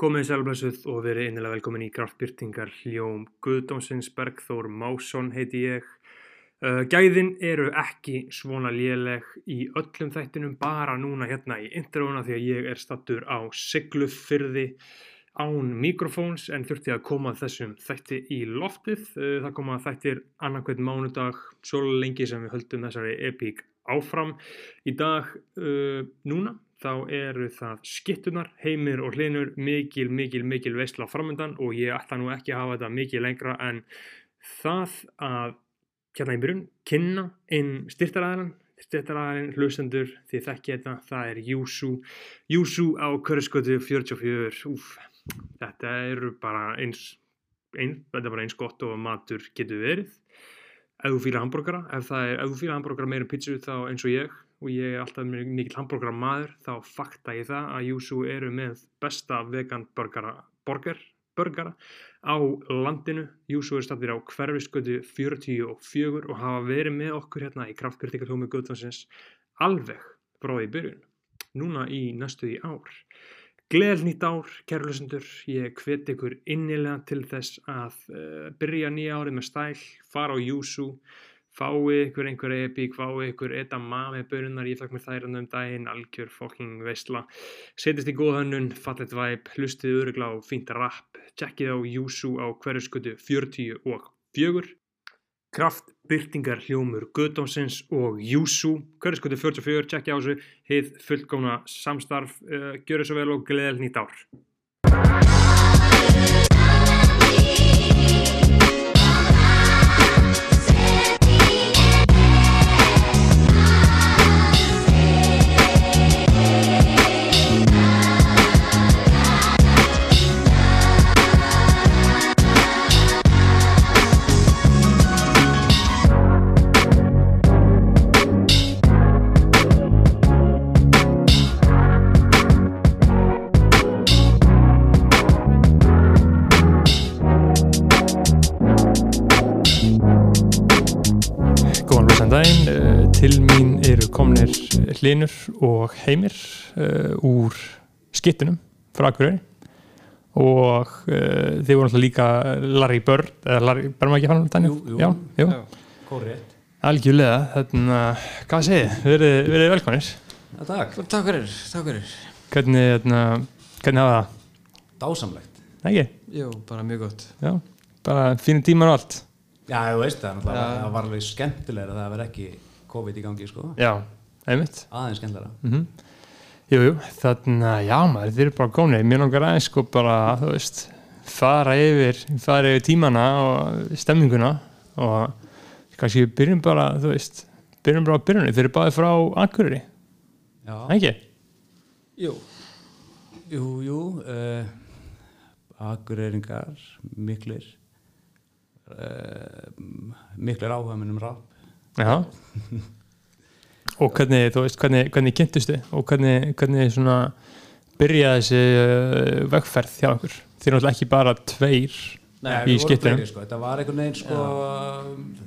Komið sælblessuð og verið innilega velkomin í kraftbyrtingar hljóm Guðdómsins Bergþór Másson heiti ég. Uh, Gæðin eru ekki svona léleg í öllum þættinum bara núna hérna í intróuna því að ég er stattur á siglufyrði án mikrofóns en þurfti að koma þessum þætti í loftið. Uh, það koma þættir annarkveit mánudag svo lengi sem við höldum þessari epík áfram. Í dag uh, núna þá eru það skittunar, heimir og hlinur, mikil, mikil, mikil veistla framöndan og ég ætla nú ekki að hafa þetta mikið lengra en það að hérna í byrjun, kynna inn styrtaræðan, styrtaræðan, hlustendur, þið þekki þetta, það er Júsú, Júsú á Körskötu 44, úf, þetta eru bara eins, eins, þetta er bara eins gott og matur getur verið ef þú fýlar hambúrgara, ef, það er, ef þú fýlar hambúrgara meira en pítsu þá eins og ég og ég er alltaf mjög mikill hambúrgara maður þá fakta ég það að Júsú eru með besta vegan burgara, burger, burgara á landinu. Júsú eru stættir á hverfiskötu 44 og hafa verið með okkur hérna í kraftbyrtingatómi Guðvansins alveg frá því byrjun, núna í næstu í ár. Gleðil nýtt ár, kærlusendur, ég hvet ykkur innilega til þess að uh, byrja nýja árið með stæl, fara á Júsú, fái ykkur einhver epík, fái ykkur edamame bönunar, ég fæk mér þær hann um daginn, algjör, fólking, veisla, setjast í góð hönnun, fallet væp, hlustið örugla á fínt rap, tjekkið á Júsú á hverju skutu 40 og 4. Kraft, byrtingar, hljómur, Guðdómsins og Júsú, hverju skutu 44, tjekkið á þessu, heið fullgóna samstarf, uh, gjöru svo vel og gleðil nýtt ár. Góðan blessan daginn, eh, til mín eru komnir hlinur og heimir uh, úr skittunum frá Akureyri og uh, þið voru alltaf líka Larry Bird, eða Larry, berðum ekki hann þannig? Jú, jú. Já, jú, Korrekt. algjörlega, þarna, hvað segið, þið? verið, verið velkonir, Já, takk. Takk fyrir, takk fyrir hvernig, þarna, hvernig hafa það? Dásamlegt. Nei, Ekki, Jú, bara mjög gott já, bara fínir tímar og allt. Já, þú veist það, náttúrulega, Já. það var alveg skemmtilegra að það verði ekki COVID í gangi, sko. Já, einmitt. Aðeins skemmtilegra. Jú, jú, þannig að já maður, þið eru bara komnið, mér langar aðeins sko bara, þú veist, fara yfir, fara yfir tímana og stemminguna og kannski við byrjum bara, þú veist, byrjum bara á byrjunni, þið eru báðið frá Akureyri, Já. ekki? Jú. Jú, jú. Uh, Akureyringar, miklir. Uh, miklir áhuga minnum rap. Já. og hvernig, þú veist, hvernig, hvernig kynntustu og hvernig, hvernig svona byrjaði þessi uh, vegferð hjá okkur? Þið eru náttúrulega ekki bara tveir í Nei, við vorum skiptum. fleiri, sko. Þetta var einhvern veginn, sko,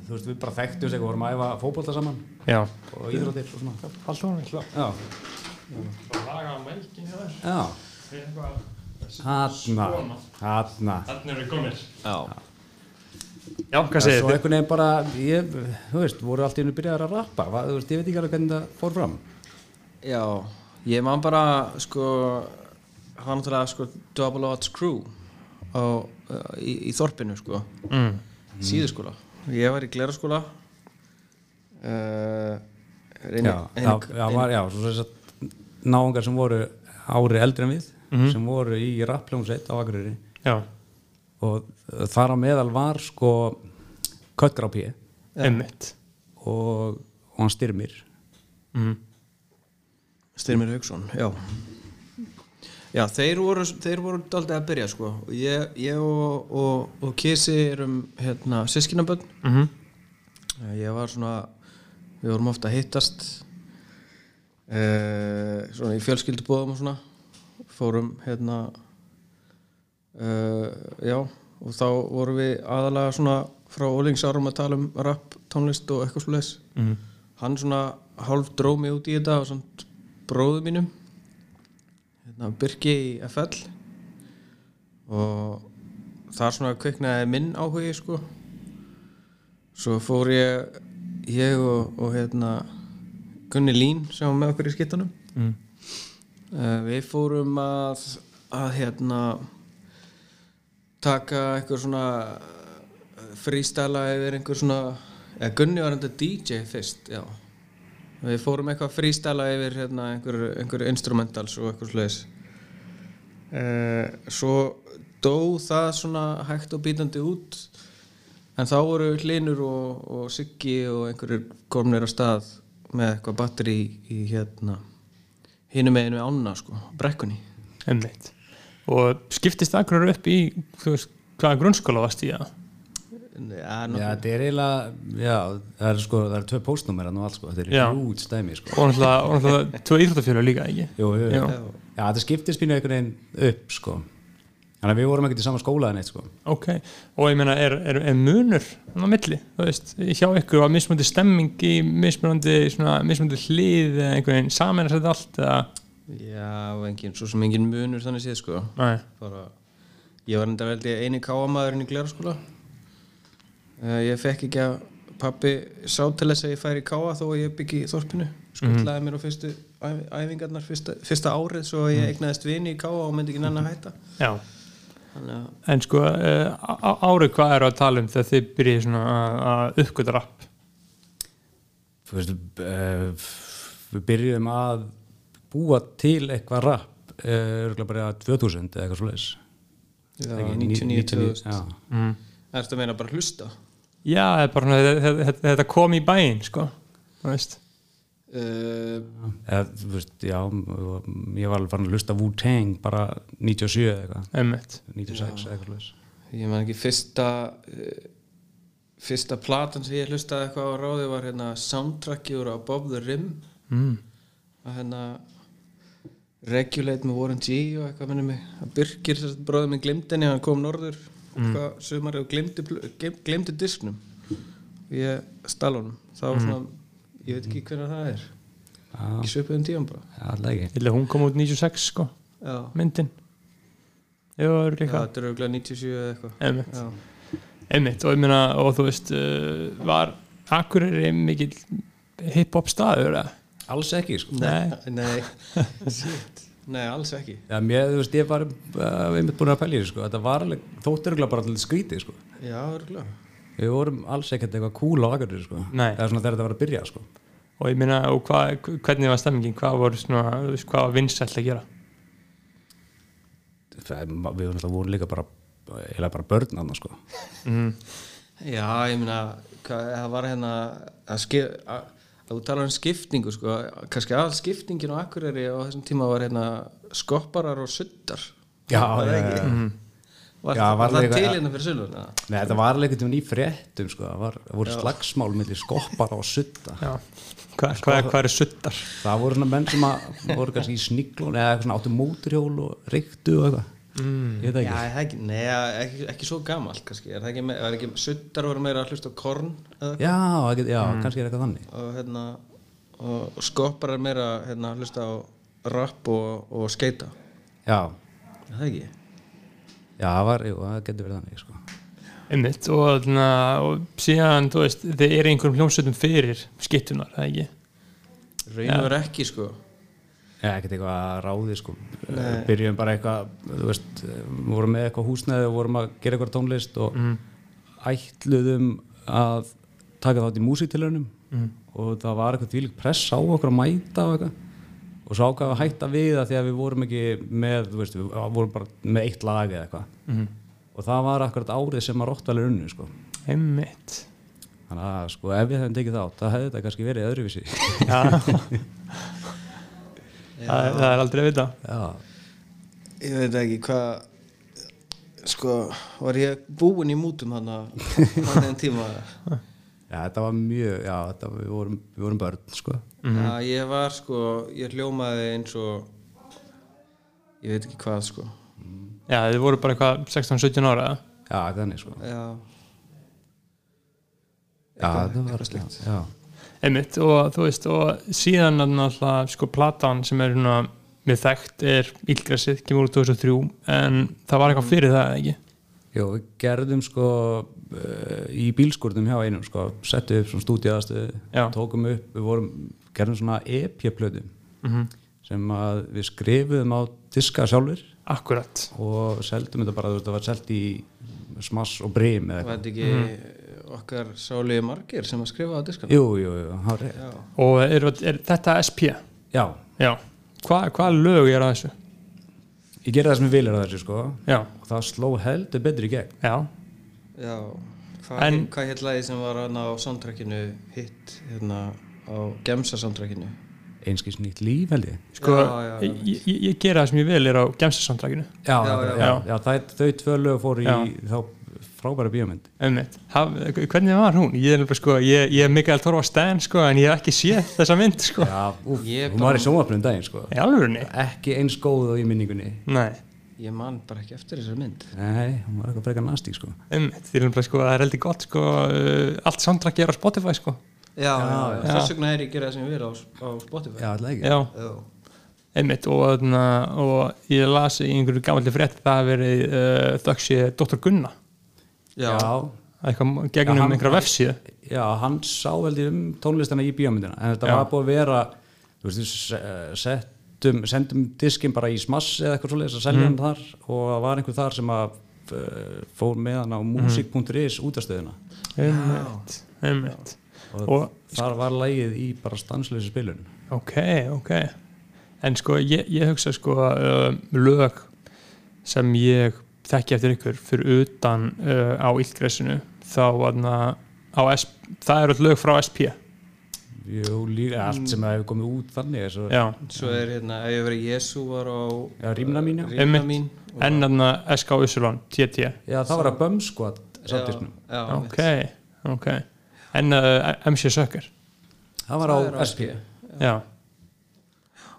þú veist, við bara þekktum sig og vorum að æfa fótbolta saman Já. og íþróttir og svona. Allt var hann klart. Já. Laga melkin hjá þér, Já. eitthvað, Hanna. Hanna. þannig eru komir. Já, Já, hvað Það er segir svo þið? einhvern veginn bara, ég, þú veist, voru allt í hennu byrjaðar að rappa, va, þú veist, ég veit ekki alveg hvernig það fór fram. já Ég man bara, sko Það var náttúrulega, sko, Double Odds Crew á, uh, í, í Þorpinu, sko Mm. Síðuskóla Ég var í gleraskóla uh, Já, það, það var, já, svo þess að náungar sem voru ári eldri en við, Mhm. sem voru í rappljónsveit á Akureyri Já, og þar á meðal var sko Köttgrápi emmitt. og, og hann styrmir. Mm. Styrmir Hauksson, já Já, þeir voru, þeir voru daldið að byrja, sko Og Ég, ég og, og, og Kisi erum, hérna, sískinabönn Mm -hmm. Ég var svona, við vorum ofta að hittast uh, svona í fjölskyldubóðum og svona fórum hérna uh, já og þá vorum við aðalega svona frá ólingsárum að tala um rap, tónlist og eitthvað svo Mhm. hann svona hálf dró mig út í þetta og svona bróðu mínum hérna Birki í FL og það er svona kveiknaði minn áhugi sko svo fór ég ég og, og hérna Gunni Lín sem var með okkur í skittanum Mm. uh, við fórum að að hérna taka eitthvað svona eh, frístæla yfir einhver svona eða Gunni var enda DJ fyrst já við fórum eitthvað frístæla yfir hérna einhver, einhver instrumentals og eitthvað slags uh, svo dó það svona hægt og bítandi út en þá voru hlinur og, og siggi og einhverjir komnir á stað með eitthvað batteri í, í hérna hinum meginu ána sko, brekkunni Einmitt. Og skiptist akkurat upp í þú veist, hvaða grunnskóla varst í að? ja, Já, þetta er eiginlega, já, það er sko, það er tvö póstnúmer hann og allt sko, þetta Já. er hrjút stæmi sko. Og náttúrulega, og náttúrulega tvö íþróttafjölu líka, ekki? Jú, jú, jú. Já. Já, þetta skiptist pínu einhvern veginn upp sko. Þannig að við vorum ekkert í sama skóla en eitt sko. Ok, og ég meina, er, er, er munur hann á milli, þú veist, hjá ykkur var mismunandi stemming í mismunandi, svona, mismunandi hlið eða einhvern veginn saman að setja allt eða, já, engin, svo sem engin munur þannig séð sko nei, bara, ég var enda veldi eini káamaðurinn í gleraskóla uh, ég fekk ekki að pappi sá til þess að ég færi í káa þó að ég byggi í þorpinu Mhm. skullaði mér á fyrstu æf- æfingarnar fyrsta, fyrsta árið svo Mhm. að ég eignaðist vini í káa og myndi ekki nenn að hætta já þannig að en sko, uh, árið hvað eru að tala um þegar þið byrjið svona að- að uppgöta rapp Þú veist, uh, við byrjuðum að búa til eitthvað rapp, örgulega bara 2000 eða eitthvað svoleiðis. Já, Ekki, 99, 2000 já. mm. Ertu að meina bara hlusta? já, það er bara svona, þetta, þetta, þetta kom í bæinn sko, þú veist Uh, Eða, þú veist, já, ég var alveg farin að hlusta Wu-Tang bara 97 eða eitthvað, einmitt, 96 eða eitthvað svoleiðis. ég man ekki fyrsta uh, fyrsta platan sem ég hlustaði eitthvað á ráði var hérna soundtracki úr Above the Rim mm. að hérna Regulate með Warren G og eitthvað minnum mig að Birkir, þess að bróðum minn glemdi henni hann kom norður eitthvað sumar og glemdi, glemdi disknum ég stal honum það var svona, ég veit ekki hvernig það er Já, ekki svipuðum tíum bara já, alltaf ekki. Ítla, hún kom út 96 sko, já, myndin já, eru já líka, þetta er auðvitað 97 eða eitthvað einmitt já. einmitt og ég meina og þú veist uh, var Akureyri mikill hip-hop staður eða? Alls ekki, sko. Nei. Nei, shit Nei, alls ekki Já, mér, þú veist, ég var uh, einmitt búin að pælja í því, sko. Þetta var alveg, þótt örgulega bara allir skrítið, sko. Já, örgulega Við vorum alls ekkert eitthvað cool á Akureyri, sko. Nei. Það er svona þegar þetta var að byrja, sko. og ég meina og hva, hvernig var stemmingin hvað voru svona, þú veist, hvað var vinsælt að gera Það, við vorum alltaf vorum líka bara, eða bara börn annars, sko. Já, ég meina, hvað- það var hérna að skip að að þú talar um skiptingu, sko, kannski aðal skiptingin á Akureyri á þessum tíma var hérna skopparar og suddar Já, var já, já. ekki? Var, Já, var það- var það líka- til hérna fyrir sölun? eða? Nei, þetta var alveg eitthvað í fréttum, sko. Það var, það voru slagsmál millir skoppara og sutta. já. Hva, Sko- hva, hvað eru suttar Það voru svona menn sem að voru kannski í sniglun eða eitthvað svona áttu móturhjól og reyktu og eitthvað. Mm. Ég veit Já, ekki. er það ekki, neða, ekki, ekki svo gamalt kannski, er það ekki, me- var ekki suddar voru meira að hlusta á korn eða, Já, ekki, já kannski er eitthvað þannig. og hérna, og skopparar meira hérna að hlusta á rapp og, og skeita, Já, er það ekki? Já, það var, jú, það getur verið þannig, sko. einmitt og, na, og síðan þú veist, þið eru einhverjum hljómsveitum fyrir skittunar, það ekki Raunur ekki, sko. Já, ekkert eitthvað að ráði, sko. Byrjum bara eitthvað, þú veist, við vorum með eitthvað húsnæði og vorum að gera eitthvað tónlist og ætluðum að taka þátt í músítilunum og það var eitthvað þvílík press á okkur að mæta og eitthvað og svo ákvað við að hætta við að því að við vorum ekki með, þú veist, við vorum bara með eitt lag eða eitthvað og það var akkurat árið sem að Rottvalur unnu, sko. einmitt Þannig að, sko, ef við hefðum tekið þátt, það hefði þetta kannski verið öðruvísi. já. það, það er aldrei að vita Já. Ég veit ekki hvað Sko, var ég búinn í mútum hann að hann enn tíma Já, þetta var mjög, já, þetta, við, vorum, við vorum börn, sko. Já, ég var sko, ég hljómaði eins og Ég veit ekki hvað sko já, þið voru bara eitthvað 16-17 ára eða? Já, þannig, sko. Já, Já, þetta var slíkt. Já, einmitt og þú veist og síðan er náttúrulega sko platan sem er svona mér þekkt er Ílgrasið, kemur úr 2003 en það var eitthvað fyrir það eða ekki Jó, við gerðum sko eh, í bílskúrnum hjá einum sko, settum upp svona stúdíaðastöðu, Já. tókum upp, við vorum, gerðum svona EP-plötu Mhm. sem að við skrifuðum á diska sjálfur Akkurat og seldum þetta bara, þú veist, það var selt í smass og breym eða Var eitthvað. þetta ekki okkar sáliði margir sem að skrifa á diskan? Jú, jú, jú, það var rétt. Já. og er, er þetta SP? Já, Já, Hva, hvað lög er að þessu? ég gerði það sem ég vilir á þessu sko Já, og það sló heldur betur í gegn. já, Já. Hvað, En- hvað hétt lagi sem var hann á soundtrackinu hitt hérna á Gemsa soundtrackinu? Einskis nýtt líf held ég. sko Já, já, já, ég, ég, ég gera það sem ég vil er á gemsasandrækinu Já, Já, já, já. já, já það, þau tvö lög fóru Já. í þá frábæra bíómynd. Einmitt. Haf, hvernig var hún? Ég er nefnilega sko, ég, ég er Mikael Torfa Sten sko, en ég hef ekki séð þessa mynd sko. Já, úf, Ég hún bara- var í sjónvapnum daginn sko. Í alvörunni? Ekki eins góð og í minningunni. Nei, Ég man bara ekki eftir þessari mynd. Nei, hún var eitthvað frekar nastík sko. einmitt. Því er nefnilega sko, það er heldur gott sko, uh, allt soundtrack er á Spotify sko. Já, já, já. já. Þess vegna er ég að gera það sem ég vil á, á Spotify. Já, alltaf ekki. Já, Já. einmitt. Og, þarna, og ég las í einhverju gamalli frétt að það hafi verið uh, þöggsið Dr. Gunna. Já. Að Eitthvað Já, gegnum hann- einhverja vefsíðu. já, hann sá held ég um tónlistana í bíómyndina. En þetta Já. var búið að vera, þú veist, við se- settum, sendum diskinn bara í smass eða eitthvað svoleiðis Mhm. að selja hann þar og það var einhver þar sem að eh, fór með hann á Mhm. music.is útastöðina Einmitt, einmitt. og, Og- þar var lagið í bara stansleysi spilun. Ok, ok En sko, ég, ég hugsa sko uh, lög sem ég þekki eftir ykkur fyrir utan uh, á illgresinu þá aðna á S það eru öll lög frá SP Jú, líka allt sem hefur komið út þannig. Svo, já. Svo er hérna, ef ég verið Jésu var á Já, Rímna mín, já. Rímna Einmitt. mín og- en aðna SK Usulon, TT Já, það var að bömskvat sáttisnum. Já, já, ok, ok en uh, MC Sökkur Það var Það er á SP. já,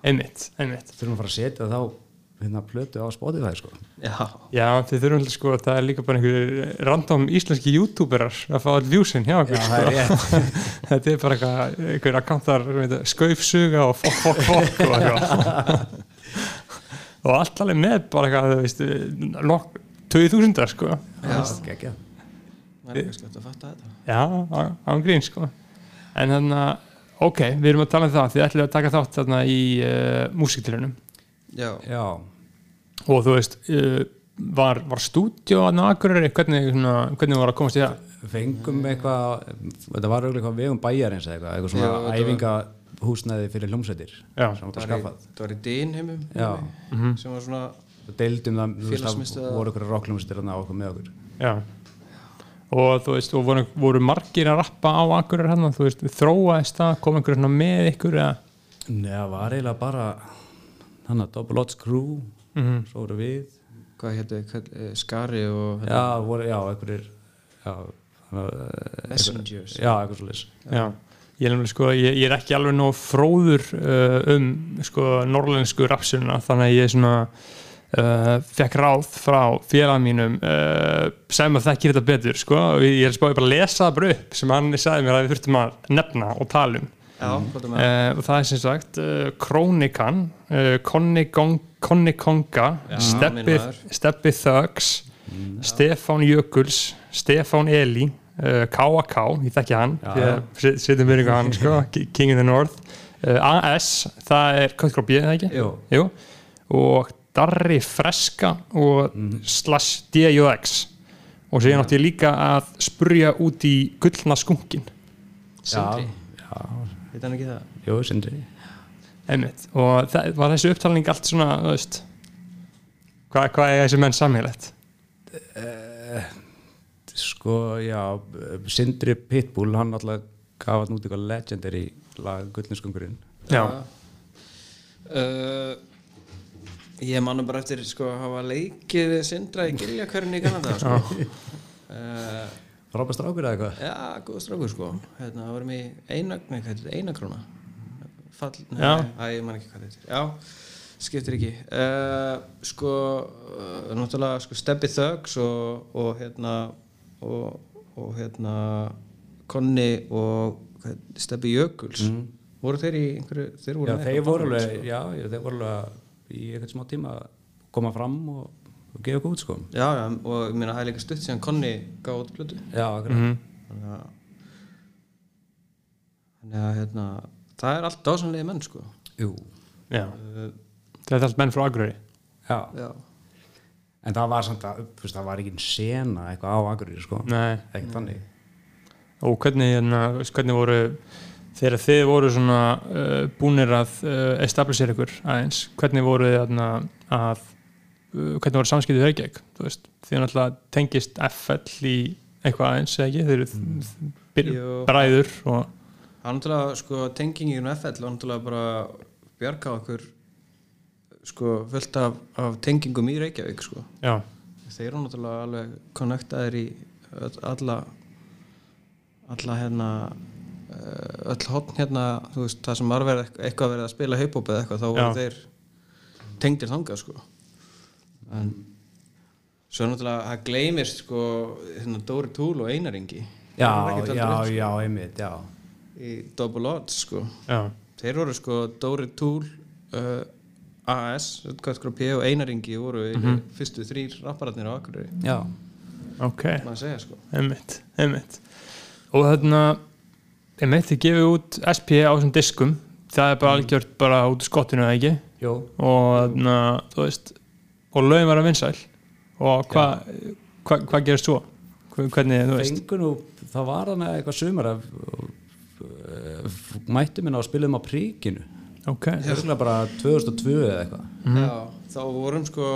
einmitt, einmitt Þurfum að fara að setja þá hérna plötu á Spotify, sko. Já, Já, þið þurfum alltaf sko, það er líka bara einhverju random íslenski youtuberar að fá all viewsinn hjá okkur sko. rétt. Þetta er bara eitthvað, einhver akkántar skaufsuga og fokk, fokk, fokk og eitthvað. og allt alveg með bara eitthvað, þú veist, eh, nokk, 2000 sko. Já, geggja. það er kannski hægt að fatta þetta Já, á- án grín sko. En þannig að, ok, við erum að tala um það, þið ætlum að taka þátt þarna í uh, músiktilunum. Já, Já, Og þú veist, uh, var, var stúdíó að nákvæmur, hvernig, svona, hvernig var að komast í það? fengum eitthvað, þetta var auðvitað eitthvað vegum bæjarins eða eitthvað, eitthvað Já, þetta svona var- æfingahúsnaði fyrir hljómsveitir Já. sem var bara það var í, skaffað. það var í dýn heimum Já. sem var svona Það deildum það, þú veist, Félagsmiðstöð- það voru eitthvað rockljómsveitir hann á okkur með okkur. Já. Og þú veist, og voru, voru margir að rappa á akkurir hann, þú veist, þróaðist það, kom einhver svona með ykkur eða? Nei, það var eiginlega bara, Mhm. hann að Double Odds Crew, svo voru við. hvað hétu, kall- eh, Skari og hérna, Já, voru, já, einhverjir, já, hann var, eh, Messengers já, eitthvað svo leys. Já, ég er, nefnilega, sko, ég, ég er ekki alveg nóg fróður uh, um sko, norlensku rapsununa þannig að ég svona uh, fekk ráð frá félag mínum uh, sem að þekkir þetta betur sko. og ég er spáði bara að lesa það bara upp sem hann sagði mér að við þurftum að nefna og tala um Já, Mhm. hvað það með uh, og það er sem sagt uh, Krónikan uh, Konni Gong- Konni Konga Já, Steppi, minn maður. Steppi Thugs Stefán Jökuls Stefán Eli uh, K.A.K. ég þekki hann Já, já. sittum við ykkur hann sko, Ki- King in the North uh, A.S. það er Köttkróp B, það ekki? Jú. Jú. og Darri Freska og Mhm. slash D.U.X og sér nátti ég líka að spurja út í gullna skunkin Sindri, Já, já, heit hann ekki það? jú, Sindri. Einmitt. og það, var þessi upptalning allt svona þú veist, hvað, hvað er þessi menn samhélagt sko, já Sindri Pitbull, hann alltaf gaf hann út eitthvað legendary lag Gullniskungurinn já, Uh, ég manna bara eftir sko að hafa leikið við Sindra í giljakverðinu í Kanada sko. uh, Robert Strákur eða eitthvað Já, góð strákur sko hérna, það varum í eina, nei, hvað heitir þetta, eina króna Fall, nei, Já. að, ég man ekki hvað þetta er Já, skiptir ekki uh, Sko, uh, náttúrulega sko, Steppi Thugs og, og hérna og, og hérna Konni og hvað- Steppi Jökuls Voru þeir í einhverju, þeir voru Mhm. Já, með þeir eitthvað voru band, alveg, já, já, þeir voru alveg að í eitthvað smá tíma að koma fram og, og gefa okkur út sko já, já, og ég meina það er líka stutt síðan Conny gaf út plötu já, akkurat þannig að þannig að hérna það er allt dásanlega menn sko Jú. Já. Eh, Þetta er allt menn frá Akureyri Já. já, en það var samt að þú veist, það var ekki en sena eitthvað á Akureyri sko Nei. ekki þannig og hvernig, hérna, veist, hvernig voru þegar þið voru svona uh, búnir að uh, establisher ykkur aðeins, hvernig voru þið hérna, að uh, hvernig voru samskiptið höggjæk, þú veist, þið náttúrulega tengist FL í eitthvað aðeins eða ekki, þeir eru mm. Jú. bræður og Það er náttúrulega sko tengingin og FL var náttúrulega bara bjarga okkur sko fullt af, af tengingum í Reykjavík sko já, þeir eru náttúrulega alveg konnektaðir í öll, alla alla hérna eh, öll hotn hérna þú veist það sem var verið eitthvað verið að spila haupop eða eitthvað þá voru Já. þeir tengdir þangað sko en svo náttúrulega það gleymist sko hérna Dóri Túl og Einaringi já, já, já, einmitt, já í Double Odds sko já, Þeir voru sko Dóri Túl uh, AS, Rutgers P og Einaringi voru mm fyrstu þrýr rappararnir á Akureyri já, ok maður segja sko einmitt, einmitt og þarna einmitt, þið gefið út SP á þessum diskum það er bara algjört bara út í skottinu eða ekki jú og þarna, þú veist og lögum var að vinsæl og hvað hva, hva gerist svo? Hve- hvernig, þú veist fengu nú, það var þannig eitthvað sumar að mættum hérna og spilum á príkinu ok, Örgulega bara 2002 eða eitthvað Já, þá vorum sko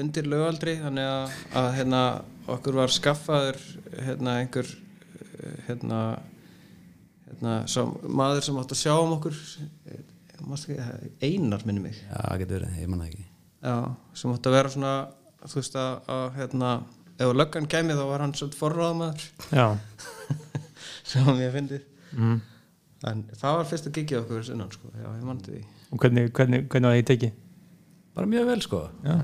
undir lögaldri þannig að, að hérna, okkur var skaffaður hérna, einhver eh, hérna, hérna, sá, maður sem átt að sjá um okkur eh, manstu ekki, einar minni mig Já, það getur verið, ég manna ekki Já, sem átti að vera svona þú veist að, að hérna ef löggan kemi þá var hann svolítið forráðamaður já, sem ég fyndið en það var fyrst að gigja okkur sunnan sko, já, ég mandi því og hvernig, hvernig, hvernig var því tekið? Bara mjög vel sko já.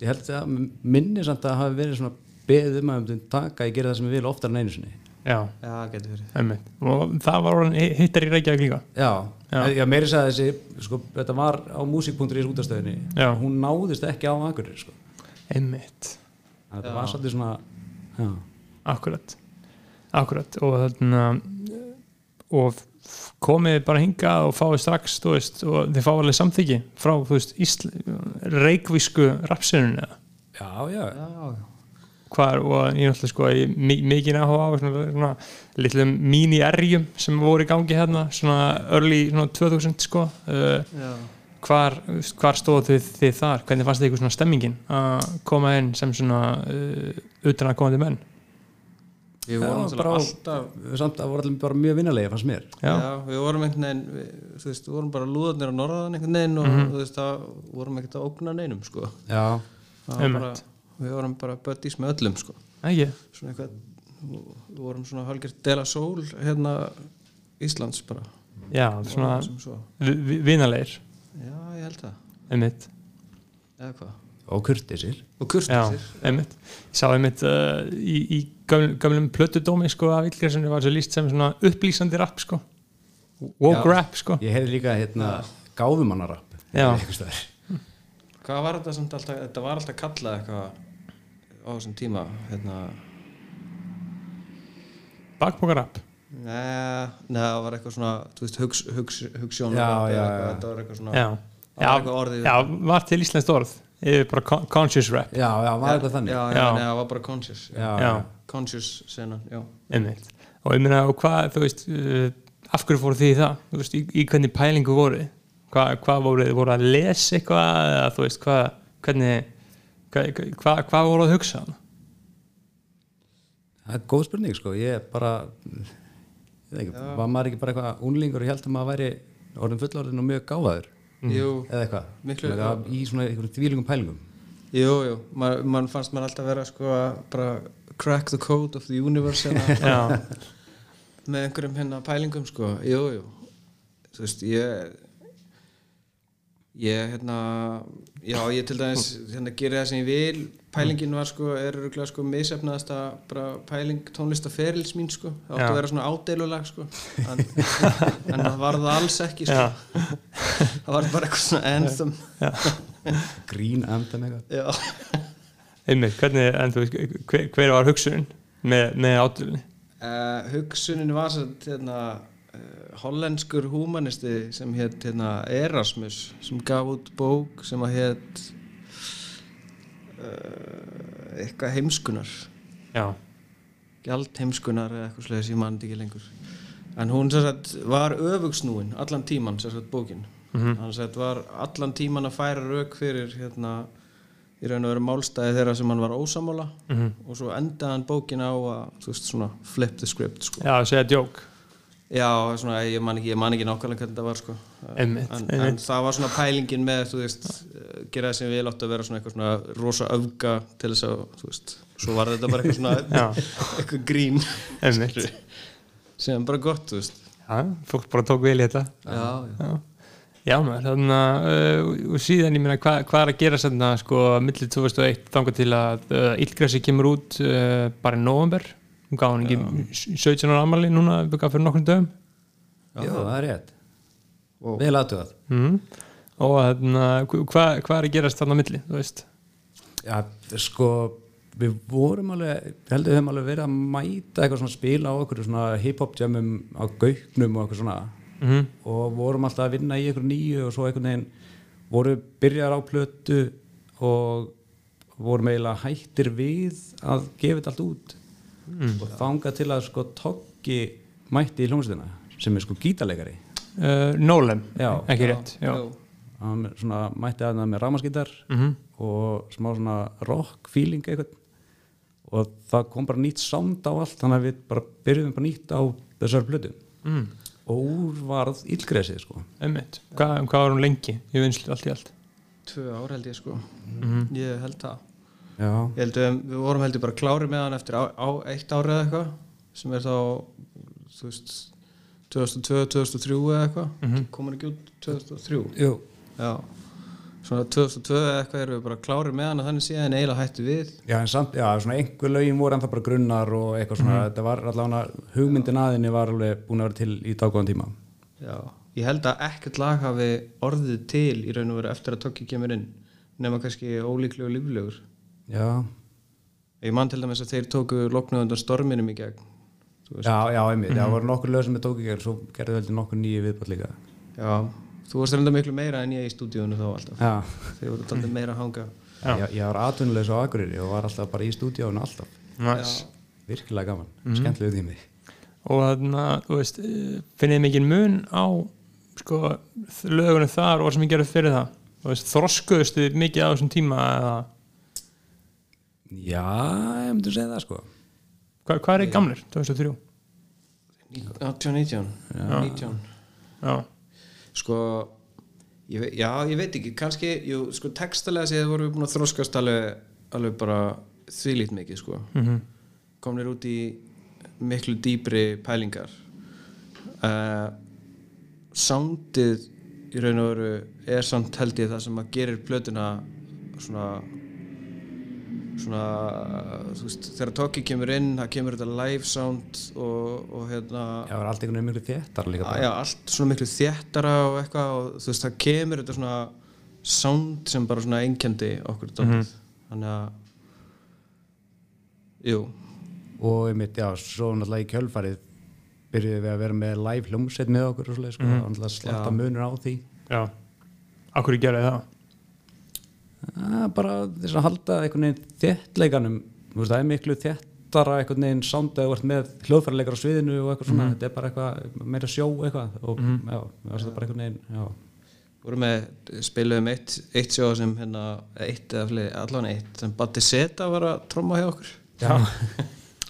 Ég held að minni samt að það hafi verið svona beðið um að um taka, ég gera það sem ég vil oftar en einu sinni já, já, getur verið einmitt og það var orðin hi- hittar í Reykjavík líka Já, Eh, Já. já. meiri sagði þessi sko, þetta var á music.is útastöðinni Já. hún náðist ekki á Akureyri sko. einmitt, Þannig að þetta var svolítið svona já, akkurat akkurat og þarna og f- komið bara hingað og fáið strax, þú veist, og þið fáið alveg samþyggi frá, þú veist, Ísl reikvísku rapsirinu eða já, já, já, já. hvar og ég náttúrulega sko ég mi- mikið áhuga á svona, svona litlum mini-erjum sem voru í gangi hérna svona early svona 2000 sko uh, Já. hvar, hvar stóðu þið, þið þar hvernig fannst þið ykkur svona stemmingin að koma inn sem svona uh, utan að komandi menn við vorum Já, bara náttúrulega á- alltaf samt að voru allir bara mjög vinnalega fannst mér já. já, við vorum einhvern veginn við, þú veist, við vorum bara lúðarnir á norðan einhvern veginn og þú veist, það vorum ekkert að ógna neinum sko já, Það var bara, Einmitt. við vorum bara buddies með öllum sko ekki, svona eitthvað við vorum svona halgjört dela sól hérna Íslands bara já, svona sem svo vi- vi- vinalegir, já ég held það einmitt eða hvað og kurtisir og kurtisir já, einmitt ég sá einmitt uh, í, í gömlum, gömlum plötudómi sko af Illgjarssoni var svo líst sem svona upplýsandi rap sko woke Já. rap sko ég hefði líka hérna gáfumannarapp Já. einhvers staðar. hvað var þetta samt alltaf þetta var alltaf kallað eitthvað á þessum tíma hérna bakbókarrap neða það var eitthvað svona þú veist hugs, hugs, hugsjón Já, eða já, já. eitthvað, þetta var eitthvað svona já, Það var já, eitthvað orðið. já, var til íslenskt orð yfir bara con- conscious rap já, já, var þetta þannig já, já, Já. Nei, það var bara conscious já, já, conscious senan já einmitt og ég meina, og hvað, þú veist uh, af hverju fóru þið í það, þú veist, í, í hvernig pælingu voru þið? hvað hva voru þið, voru að lesa eitthvað, eða þú veist, hvað hvernig, hvað hva, hva voru að hugsa um? það er góð spurning sko ég bara ég veit ekki, var maður ekki bara eitthvað unlingur og ég held að maður væri orðin fullorðin og mjög gáfaður jú eða eitthvað, Miklu- Svona eitthvað í svona einhverjum þvílingum pælingum Jú, jú, mann man fannst maður alltaf vera sko að bara crack the code of the universe hérna, já, með einhverjum hérna pælingum sko, jú, jú þú veist, ég Ég, hérna, já, ég til dæmis hérna, gerir það sem ég vil pælingin var sko, er rúglega sko misefnaðast bara pæling tónlistaferils mín sko, það átti Já. að vera svona ádeilulag sko, en, en það var það alls ekki sko, Já. það var bara eitthvað svona anthem grín andan eitthvað já, einmitt, hvernig, en þú veist, hver, hver var hugsunin með, með ádölunni? uh, hugsunin var satt hérna uh, hollenskur húmanisti sem hétt hérna Erasmus sem gaf út bók sem að hétt uh, eitthvað heimskunar Já, gjald heimskunar eða eitthvað slegis, ég mann ekki lengur en hún sem sagt, var öfugsnúin allan tíman, sem sagt, bókin hann sem sagt, var allan tíman að færa rauk fyrir hérna í raun og veru málstæði þeirra sem hann var ósamála Mhm. og svo endaði hann bókin á að þú veist svona flip the script sko. já, segja djók já, svona, ég man ekki, ég man ekki nákvæmlega hvernig þetta var sko. Einmitt, en, en einmitt. það var svona pælingin með þú veist, eh, gera það sem við láttu að vera svona eitthvað svona rosa öfga til þess að, þú veist, svo var þetta bara eitthvað Já. svona eitthvað grín einmitt, sem er bara gott, þú veist já, fólk bara tók vel í þetta já, já. Já, já maður, þannig að uh, og síðan, ég meina, hva, hvað er að gera sérna, sko, millir 2001 þangar til að uh, Illgrassi kemur út uh, bara í november hún gaf hann ekki 17 ára ammali núna gaf fyrir nokkrum dögum já, það er rétt vel aðtugað mm. og þannig að hvað hva er að gerast þarna á milli, þú veist Já, sko við vorum alveg, ég held að við hefum alveg verið að mæta eitthvað svona spila á okkur svona hip-hop jamum á gauknum og eitthvað svona Mhm. og vorum alltaf að vinna í eitthvað nýju og svo einhvern veginn vorum byrjar á plötu og vorum eiginlega hættir við að gefa þetta allt út og þanga til að sko Toggi mætti í hljómsveitina sem er sko gítarleikari uh, Nólem, Já. ekki rétt já. Jú. hann svona mætti að það með ramaskítar og smá svona rock feeling eitthvað og það kom bara nýtt sound á allt þannig að við bara byrjuðum bara nýtt á þessar blödu Mhm. Mm. og úr varð illgresið sko Einmitt, Hva, hvað var hún lengi í vinslu allt í allt tvö ár held ég sko Mhm. ég held það Já, ég held við, við vorum heldur bara klári með hann eftir á, á eitt ári eða eitthvað sem er þá þú veist 2002, 2003 eða eitthvað mm -hmm. komur ekki út 2003 Jú. já svona 2002 eða eitthvað erum við bara klári með hann og þannig síðan eiginlega hættu við já, en samt, já svona einhver lögin voru en það bara grunnar og eitthvað svona þetta var allavega hugmyndin aðinni var alveg búin að vera til í dágóðan tíma já ég held að ekkert lag hafi orðið til í raun og veru eftir að Tokki kemur inn nema kannski ólíkleg og líflegur Já, Ég man til dæmis að þeir tóku loknuð undan storminum í gegn. Þú veist, já, já, einmitt, það voru nokkur lög sem við tók ekki og svo gerðu heldur nokkur nýju viðbátt líka já, þú varst reynda miklu meira en ég í stúdíunum þá alltaf. Já, Þeir voru alltaf meira að hanga. já. Ég, ég var atvinnulegs á Akureyri og var alltaf bara í stúdíónu alltaf nice. virkilega gaman, mm. skemmtilegu tími og þannig að, þú veist eh, finnið mikið mun á sko, þ- lögunum þar og sem ég gerði fyrir það þú veist, þroskuðust þið mikið á þessum tíma eða, já, ég myndi segja það sko hvað, hvað er þið gamlir, 2003 Ní- 18, 19. 19. já, Sko, ég veit, já, ég veit ekki, kannski, jú, sko, textalega séð vorum við búin að þroskast alveg, alveg bara þvílít mikið, sko. -hmm. Komnir út í miklu dýpri pælingar. Uh, soundið í raun og veru er samt held ég það sem að gerir plötuna svona svona, þú veist, þegar Tokki kemur inn, það kemur þetta live sound og, og hérna já, það var allt einhvern veginn mjög þéttar líka Já, bara já, allt svona miklu þéttara og eitthvað og þú veist, það kemur þetta svona sound sem bara svona einkendi okkur dálítið. Mhm. Þannig að, jú, og einmitt, já, svo náttúrulega í kjölfarið byrjuðum við að vera með live hljómsveit með okkur og svoleið sko, mm. náttúrulega slatta munur á því já akkur ég gerði það að bara þess að halda einhvern veginn þéttleikanum, þú veist, það er miklu þéttara einhvern veginn sound að þú ert með hljóðfæraleikar á sviðinu og eitthvað svona þetta er bara eitthvað, meira sjó eitthvað og já, það er bara einhvern veginn já, vorum með, spiluðum eitt, eitt sjó sem hérna, eitt eða fleiri, allan eitt, sem Batti Seta var að tromma hjá okkur.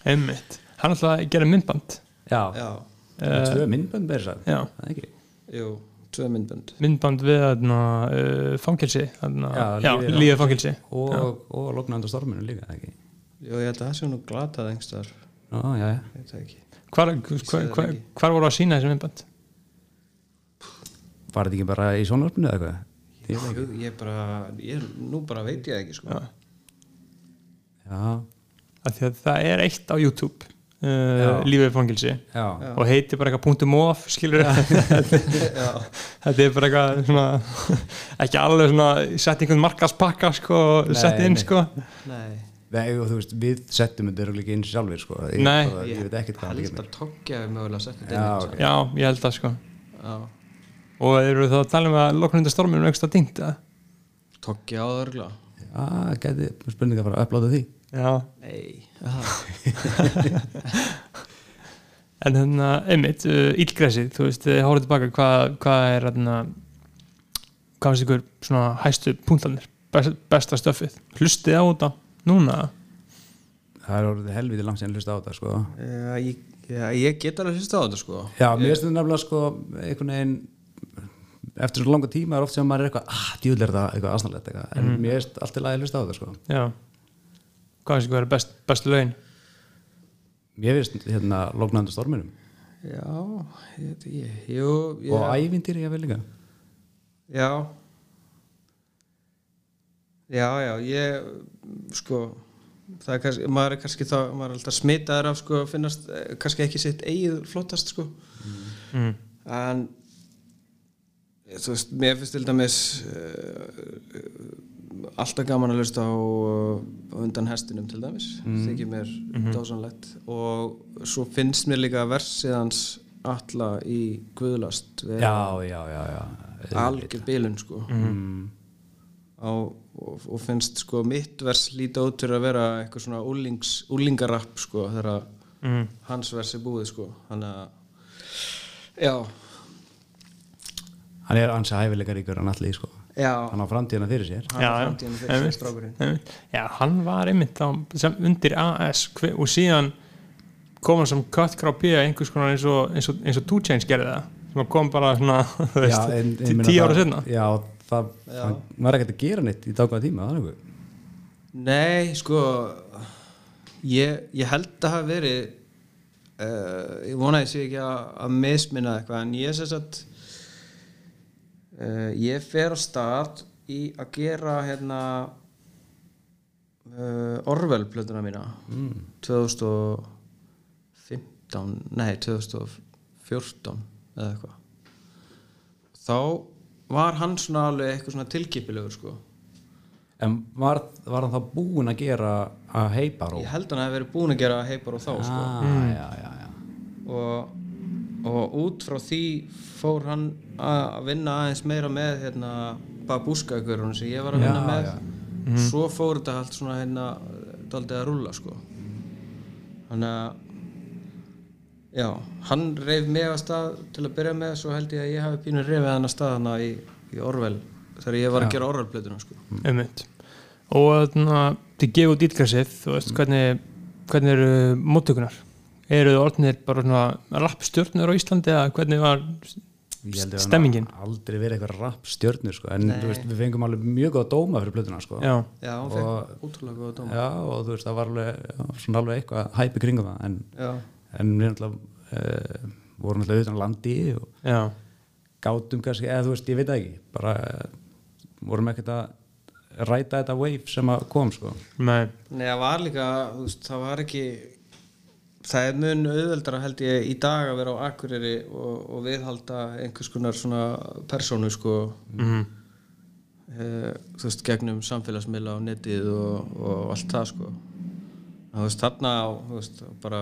einmitt, hann ætlaði að gera myndband já, Já, já. tvö myndbönd með þess að já, það er ekki jú, tvö myndbönd. myndband við þarna, uh, fangelsi þarna, Já, já, lífið- lífið fangelsi og, og lokna undan storminu líka, það ekki Jú, ég held að það sé nú glatað einhverstaðar, Ó, já, já. ég veit það ekki. hvar, hvar, hvar, hvar voru að sína þessi myndband Var þetta ekki bara í sjónvarpinu eða eitthvað? Ég veit Jú, ég bara, ég, nú bara veit ég það ekki sko. Já, af því að það er eitt á YouTube uh, lífið fangilsi já, og heitir bara eitthvað punktum of skilur þetta er bara eitthvað svona, ekki alveg svona sett einhvern markaspakka sko, og Nei, sett inn nei. sko Nei, Nei, og þú veist, við settum þetta örugglega ekki inn sjálfur sko. ég, Nei. bara, ég veit ekkert hvað held að tókja við mögulega að setja þetta Já, inn, ok. já, ég held það sko sko. Já, og eru það að tala um að loknundar storminu er einhversta dýnt eða? tókja á það örgla Já, Ah, gæti spurninga að fara að upplóta því já, Nei, það en þannig að einmitt, uh, illgresið, þú veist þið hóruð tilbaka hvað hva er þarna hvað finnst ykkur svona hæstu punktanir, best, besta stöfið hlustið á þetta núna Það er orðið helviti langt sér að hlusta á þetta sko. Já, ég, já, ég get alveg fyrst á þetta sko Já, mér finnst þetta nefnilega sko einhvern veginn eftir svo langa tíma er oft sem maður er eitthvað ah, djúðlega er þetta eitthvað aðsnarlegt eitthvað en mér finnst allt í lagi að hlusta á þetta sko já, hvað finnst ykkur er best, bestu lögin Mér finnst hérna lognandu storminum Já, ég veit ekki Jú, ég, og ævindýri ég vel líka já Já, já, ég sko það er kannski, maður er kannski þá maður er alltaf smitaður af sko að finnast eh, kannski ekki sitt eigið flottast sko mm. en eh, þú veist, mér finnst til dæmis uh, alltaf gaman að hlusta á uh, undan hestinum til dæmis þykir mér dásanlegt og svo finnst mér líka versið hans alla í Guðlast Já, já, já, já algjör bilun sko Mm. á, og, og finnst sko mitt vers líta út fyrir að vera eitthvað svona úlings, úlingarapp sko þegar að Mm. hans vers er búið sko þannig að já, Hann er ansi hæfileika ríkur hann allir sko já Hann á framtíðina fyrir sér hann Já, er já. framtíðin fyrir sér strákurinn Einmitt. Já, hann var einmitt á, sem undir AS hve- og síðan kom hann sem Cutcrow P einhvers konar eins og, eins og, eins og 2 Chainz gerði það sem hann kom bara svona, þú veist, Já, en- ég tí- meina tíu ára það- setna Já, það hann var ekkert að gera neitt í dákvæða tíma, það er einhver nei, sko ég, ég held að hafa verið uh, ég vona að ég sé ekki að, að misminna eitthvað en ég sess að uh, ég fer á start í að gera hérna uh, Orwell plötuna mína 2015 nei 2014 eða eitthvað þá var hann svona alveg eitthvað svona tilkipilegur sko En var, var hann þá búinn að gera að heipa ró? ég held hann að hafi verið búin að gera heipar og þá sko. ah, Mm. já, já, já og, og út frá því fór hann að vinna aðeins meira með hérna, babúskagurun sem ég var að vinna með svo fór þetta allt svona hérna daldið að rúlla sko þannig að já, hann reyf mig að stað til að byrja með, svo held ég að ég hafi pínu reyfið hann að stað hann í, í Orwell þegar ég var að gera Orwell-plötuna sko einmitt og þannig að þið gefa út ítgrasið þú veist, Mm. hvernig, hvernig eru móttökunar eru þið orðnir bara svona rappstjörnur á Íslandi eða hvernig var Ég held að hann Stemmingin. Aldrei verið eitthvað rapp stjörnur sko En þú veist, við fengum alveg mjög góða dóma fyrir plötuna sko já, já, hann fekk ótrúlega góða dóma Já, og þú veist, það var alveg já, svona alveg eitthvað hæpi kringum það en, já. en við náttúrulega uh, vorum náttúrulega auðvitað á landi og já, gátum kannski, eða þú veist, ég veit það ekki bara uh, vorum ekkert að ræta þetta wave sem að kom sko nei Nei, það var líka, þú veist, það var ekki það er mun auðveldara held ég í dag að vera á Akureyri og, og viðhalda einhvers konar svona persónu sko mm. e, þú veist, gegnum samfélagsmiðla og netið og, og allt það sko Að þú veist, þarna á, þú veist, bara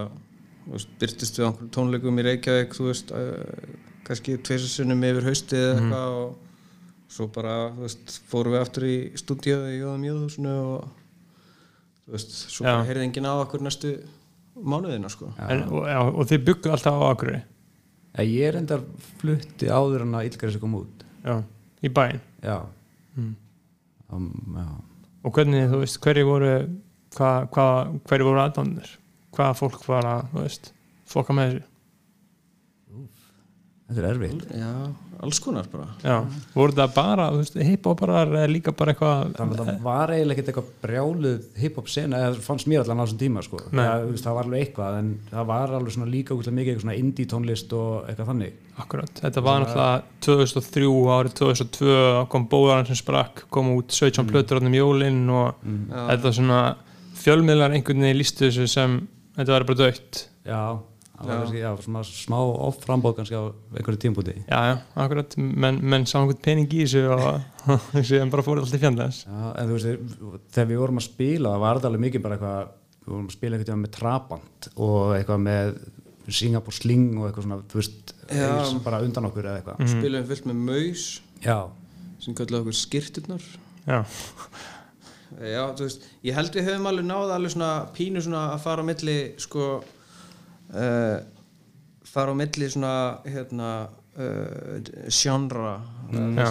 þú veist, byrtist við á einhverjum tónleikum í Reykjavík þú veist, e, kannski tveisarsunum yfir haustið eða eitthvað og svo bara, þú veist, fórum við aftur í stúdíóðu í Jóðum Jóðhúsinu og þú veist, svo bara heyrði enginn á okkur næstu mánuðina sko en, og, já, og þið byggu alltaf á Akureyri en Ég er endar flutti áður en að Ílgaris kom út já, í bæinn Já, Mm. um, já. og hvernig, þú veist, hverju voru hva, hva, hverju voru aðdánir hvað fólk var að, þú veist fokka með þessu Þetta er erfitt. Já, alls konar bara Já, voru það bara, þú veist, hiphoparar eða líka bara eitthvað Þannig að það var eiginlega ekkert eitthvað brjáluð hiphop sena, eða fannst mér allan á þessum tíma sko. Nei. það, þú veist, það var alveg eitthvað en það var alveg svona líka útla mikið eitthvað svona indie tónlist og eitthvað þannig Akkurat, þetta var náttúrulega 2003 árið 2002 kom bóðarinn sem sprakk, kom út Mm. 17 plötur átnum jólinn og þetta var svona fjölmiðlar einhvern veginn lístu þessu sem þetta var bara dögt Já, það var kannski, já, svona smá offrambóð kannski á einhverju tímpúti Já, já, akkurat, menn men sá einhvern pening í þessu og sem bara fór alltaf fjandlæðis Já, en þú veist, þegar við vorum að spila það var það alveg mikið bara eitthvað við vorum að spila eitthvað með Trabant og eitthvað með Singapore Sling og eitthvað svona, þú veist, eins bara undan okkur eða eitthvað. Spilum fullt með maus Já, sem kallaði okkur skirturnar Já, Já, þú veist, ég held við höfum alveg náð alveg svona pínu svona að fara á milli sko uh, fara á milli svona hérna uh, sjánra mm.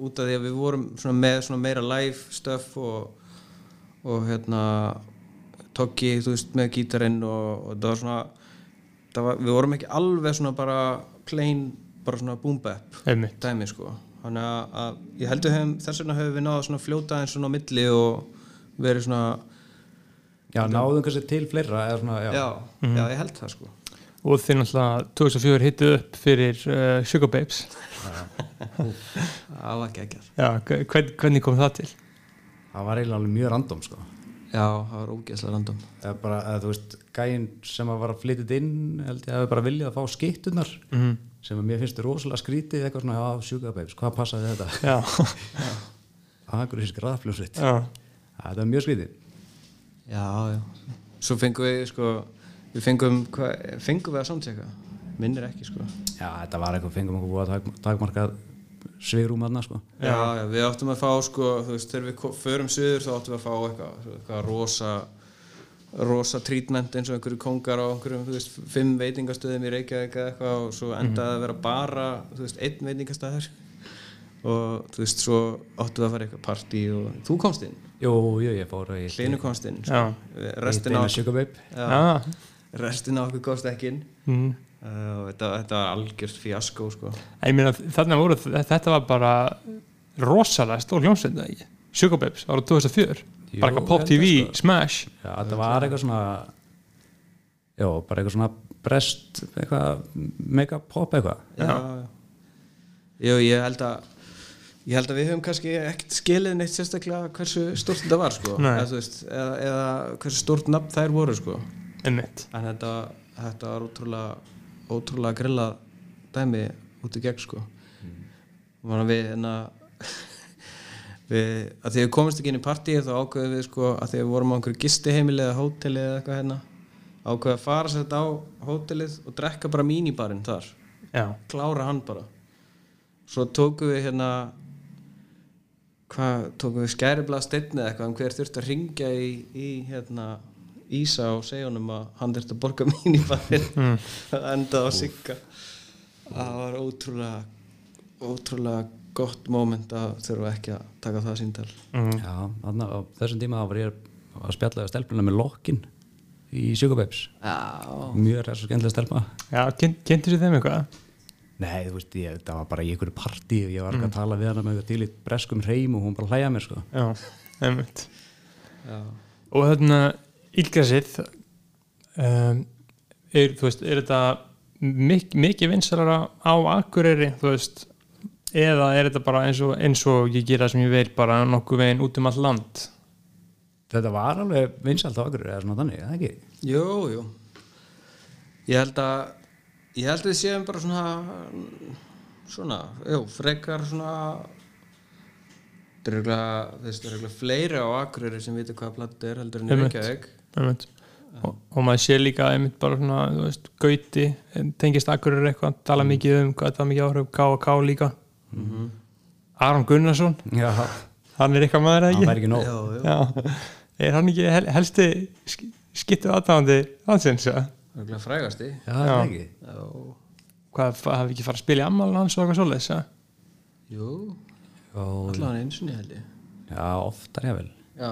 út af því að við vorum svona með svona meira live stuff og, og hérna Toggi, þú veist, með gítarinn og, og það var svona það var, við vorum ekki alveg svona bara plain, bara svona boom bap einmitt dæmi sko þannig að, að ég heldur hefum, þess vegna höfum við náða svona að fljóta eins svona á milli og verið svona já náðum kannski til fleira eða svona, já. já, já, ég held það sko og þeir náttúrulega 2004 hittu upp fyrir uh, Sugar Babes það var geggjað Já, hvern, hvernig kom það til? Það var eiginlega alveg mjög random, sko. já, það var ógeðslega random Það er bara, eða, þú veist, gæinn sem að var að flytja þetta inn, held ég að við bara viljað að fá skittunar, mm. sem að mér finnst rosalega skrítið eitthvað svona, já, sjúkabeifs, hvað passaði þetta? Já, Akureysk rafljónsveit. já, Það er mjög skrítið. já, já svo fengum við sko við fengum, hva, fengum við að samtjaka minnir ekki sko já, Já, þetta var eitthvað, fengum okkur búið að takmarkað svigrúm aðna, sko. já, við áttum að fá sko þú veist, þegar við ko- förum söður þá áttum við að fá eitthvað, svo eitthvað rosa rosa trítment eins og einhverju kongar á einhverjum, þú veist, fimm veitingastöðum í Reykjavík eða eitthvað og svo endaði að vera bara, þú veist, einn veitingastæður og þú veist, svo áttu að fara í eitthvað partí og þú komst inn, Jú, jú, ég fór að ég Hlinu komst inn Já. sko. restin, á, að sjukabeip. já. restin á okkur komst ekki inn Mm. uh, og þetta, þetta var algjört fjaskó sko. En Ég meina, þarna voru, þetta var bara rosalega stór hljómsveit eða ekki? Sugar Babes ára 2004 Jú, bara eitthvað Pop held TV, ég, sko. Smash Já, þetta var eitthvað svona Já, bara eitthvað svona brest, eitthvað megapop eitthvað já, já. Jú, ég held að ég held að við höfum kannski ekkert skilið neitt sérstaklega hversu stórt þetta var sko. Nei. eða, þú veist, eða, eða hversu stórt nafn þær voru sko. einmitt, en þetta, þetta var ótrúlega ótrúlega grilla dæmi út í gegn sko. og þannig að við hérna við, að því við komumst ekki inn í partíið þá ákveðum við sko, að því við vorum á einhverju gistiheimili eða hóteli eða eitthvað hérna ákveðum að fara sér þetta á hótelið og drekka bara mínibarinn þar já, klára hann bara svo tókum við hérna hvað, tókum við skæriblað steinni eða eitthvað, um hver þurfti að ringja í, í hérna Ísa og segja honum að hann þurfti að borga mín í bæðin mm. endað á sigga það var ótrúlega ótrúlega gott moment að þurfa ekki að taka það síndal Já, þannig að á þessum tíma þá var ég að spjalla við stelpuna með lokkin í sjúkabeips Já, Mjög ræs og skemmtilega stelpa já kyn, kynntu sér þeim eitthvað Nei, þú veist, ég, það var bara í einhverju partí og ég var mm. að tala við hana með eitthvað dýlit breskum hreim og hún bara hlæja mér sko já, einmitt já. og þarna Ílgrasið um, er, þú veist, er þetta mik mikið vinsalara á Akureyri, þú veist eða er þetta bara eins og, eins og ég gera sem ég vil bara nokkuð veginn út um all land Þetta var alveg vinsalt á okkur eða svona þannig, eða ekki? Jú, jú Ég held að ég held að við séum bara svona svona, jú, frekar svona þetta er örugglega- þetta er reglega fleiri á Akureyri sem vita hvaða platta er heldur en í Einmitt. Reykjavík einmitt. Og, og maður sé líka einmitt bara svona, þú veist, gauti eh, tengist Akureyri eitthvað, tala mikið um hvað þetta var mikið áhrif, K&K líka Aron Gunnarsson Já, hann er eitthvað maður það eða væri ekki nóg Já, jú, Já, er hann ekki hel, helsti sk- skittu aðdáðandi landsins eða? reglega frægasti Já, það er ekki Já, hvað, fa- hafi ekki farið að spila í ammál hans og eitthvað svoleiðis eða? jú, Já, allan einu sinni held ég Já, oftar jável Já,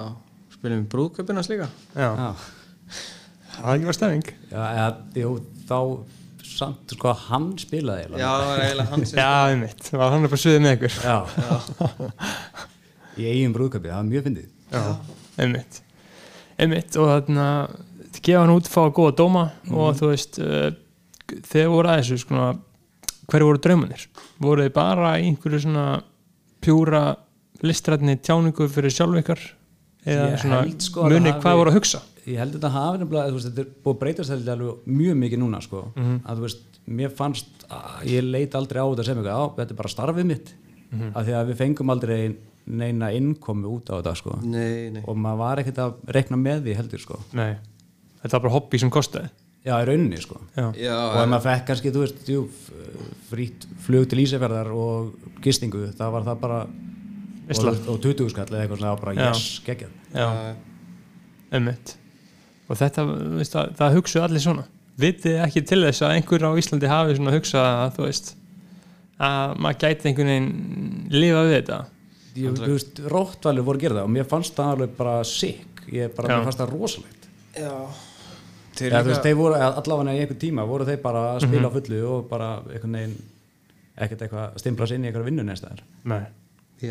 spilum við brúðköpinans líka Já, Já það var ekki bara stefning Já, eða, jú, þá samt sko að hann spilaði eiginlega. Já, það var eiginlega hans Já, einmitt, það var hann upp á sviðið með ykkur Já. í eigin brúðkapið, það var mjög fyndið einmitt einmitt og þarna þið gefa hann út, fá góða dóma Mhm. og þú veist uh, þegar voru aðeins svona, hverju voru draumanir voru þið bara í einhverju svona pjúra listrætni tjáningu fyrir sjálf ykkar eða Ég svona held sko að muni það hvað hafi- voru að hugsa ég held að þetta hafi nefnilega þú veist, þetta er búið að breytast held ég alveg mjög mikið núna sko. að þú veist, mér fannst að ég leit aldrei á þetta sem eitthvað á, þetta er bara starfið mitt mm af því að við fengum aldrei neina innkomi út á þetta sko. Nei, nei og maður var ekkert að rekna með því heldur sko. Nei. þetta var bara hobby sem kostaði já, í rauninni sko. Já. Já, og ef maður fekk kannski, þú veist, jú, frýtt flug til Ísafjörðar og gistingu það var það bara Veistla. og, og 20 skall eða eitthvað svona, það var bara Já. yes, geggjað Já, einmitt og þetta, þú veist, það, það hugsuðu allir svona vitið þið ekki til þess að einhver á Íslandi hafi svona hugsað að þú veist að maður gæti einhvern veginn lifað við þetta ég, þú veist, róttvalið voru að gera það og mér fannst það alveg bara sick ég bara, Já. mér fannst það rosalegt já. Þeir Eða, þú líka veist, þeir voru, allavega í einhvern tíma voru þeir bara að spila Mhm. á fullu og bara einhvern veginn, ekkert eitthvað að stimpla sér inn í einhverja vinnu neins staðar Nei. Já,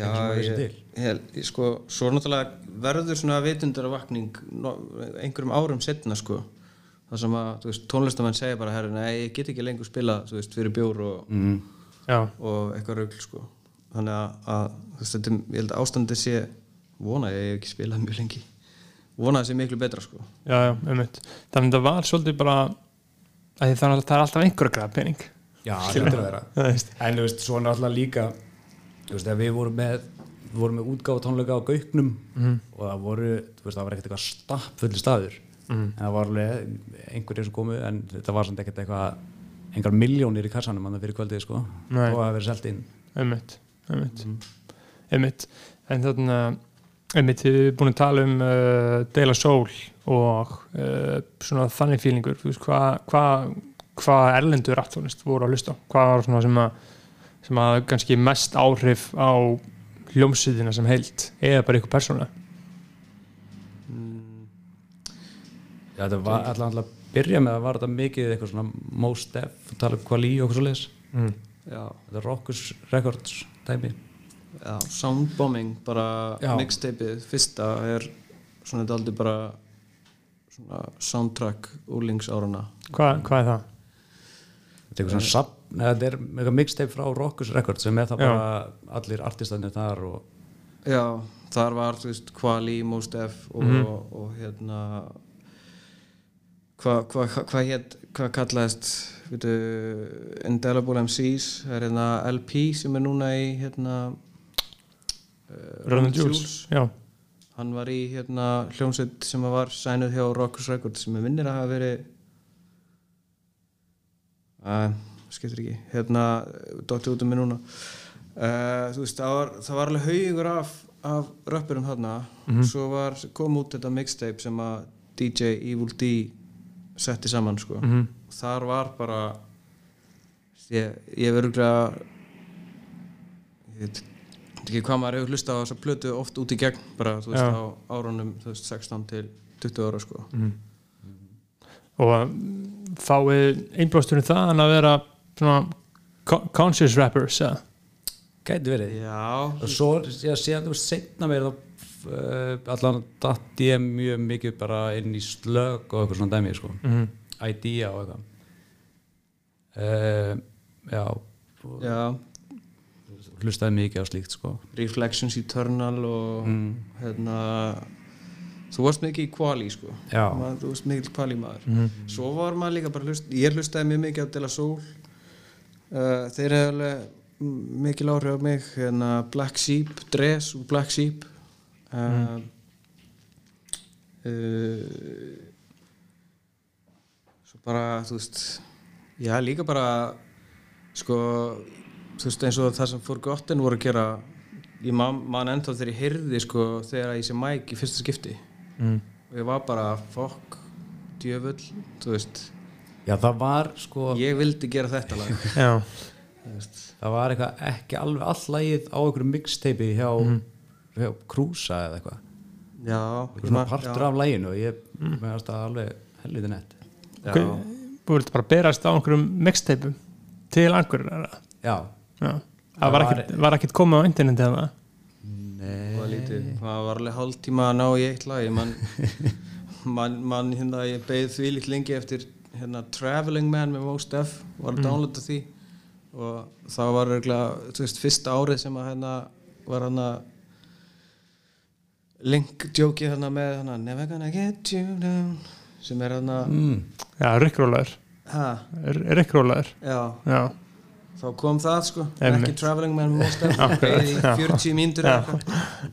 sem maður vissi ég, ég, ég, sko, svo náttúrulega verður svona vitundaravakning no, einhverjum árum setna sko það sem að, þú veist, tónlistamenn segja bara herri, nei, ég get ekki lengur spila, þú veist, fyrir bjór og, mm. Já, og eitthvað raugl sko þannig að, að þú veist, þetta, ég held að ástandið sé vona ég að ég hef ekki spilað mjög lengi vona það sé miklu betra sko já, já, einmitt þannig að það var svolítið bara að því þannig að það er alltaf einhver að græða pening já, það er að vera Það veist. En þú veist, svo náttúrulega líka þú veist, að við vorum með við vorum með útgáfa tónleika á Gauknum Mhm. og það voru, þú veist, það var ekkert eitthvað stapp fulli staður, Mhm. en það var alveg einhverjir sem komu, en þetta var samt ekkert eitthvað engar miljónir í kassanum annað fyrir kvöldið, sko, Nei. og að vera selt inn einmitt, einmitt, einmitt. en þannig að einmitt, við erum búin að tala um uh, Deila Sól og uh, svona þannig fílingur þú veist, hvað hva, hva erlendu rættónist voru að hlusta á? hvað var svona sem að sem að hafði kannski mest áhrif á hljómsýðina sem heilt eða bara ykkur persóna Já, þetta var alltaf alltaf að byrja með að var þetta mikið eitthvað svona most def, tala um hvað lí og okkur svo leis já, þetta er Rockus Records dæmi já, soundbombing bara Já. mixtapeið fyrsta er svona þetta aldrei bara svona soundtrack úrlingsárana Hva, hvað er það? þetta er eitthvað svona sap, neða, þetta er eitthvað mixtape frá Rockus Records sem er það Já. bara allir artistanir þar og já, þar var þú veist Quali, Most F og, Mhm. og, hérna hvað hva, hva, hva hétt hvað kallaðist veitu, Indelible MCs það er hérna LP sem er núna í hérna eh, Run and Jules, Já, hann var í hérna hljómsveit sem að var sænuð hjá Rockers Records sem er minnir að hafa verið að skiptir ekki hérna dotti út um mig núna uh, þú veist það var, það var alveg haugur af, af röppurum þarna svo var, kom út þetta mixtape sem að DJ Evil D setti saman sko þar var bara ég, ég verður ég veit veit ekki hvað maður hefur hlusta á þessa plötu oft út í gegn bara þú veist á árunum þú veist 16 til 20 ára sko og mm, fáið einblásturinn það en að vera svona co- conscious rappers eða? gæti verið já og svo já, síðan þú setna mér þá uh, allan datt ég mjög mikið bara inn í slög og eitthvað svona dæmi sko. mm. idea og eitthvað uh, já já hlustaði mikið á slíkt sko. Reflections Eternal og hérna þú varst mikið í kvali sko Já. maður, þú varst mikið kvali maður svo var maður líka bara hlust ég hlustaði mjög mikið á Dela Soul uh, þeir eru alveg m- mikil áhrif á mig hérna Black Sheep, Dress og Black Sheep uh, uh, svo bara þú veist já líka bara sko þú veist eins og það sem Forgotten voru að gera ég man, man ennþá þegar ég heyrði sko þegar ég sé Mike í fyrsta skipti mm. og ég var bara fokk djöfull þú veist já það var sko ég vildi gera þetta lag Já, það var eitthvað ekki alveg allægið á einhverju mixteipi hjá, hjá Krúsa eða eitthvað já, Eitthvað svona partur af læginu og ég mm. meðast það alveg helviti nett Hver- voru þetta bara berast á einhverjum mixteipum til angur já, það var ekkert, var ekkert komið á interneti eða Það var lítið, það var alveg hálftíma að ná í eitt lag ég man, man, man hérna, ég beið því líkt lengi eftir hérna, Traveling Man með Most Def var að downloada því og það var regla, þú veist, fyrsta árið sem að hérna var hann að link djóki hérna með hérna Never gonna get you down sem er hérna, mm. já, rickrólaður ha, rickrólaður, já já þá kom það sko, Einmitt. ekki Traveling Man með Most Def, Akkurat, beið í já. 40 mínútur eða eitthvað,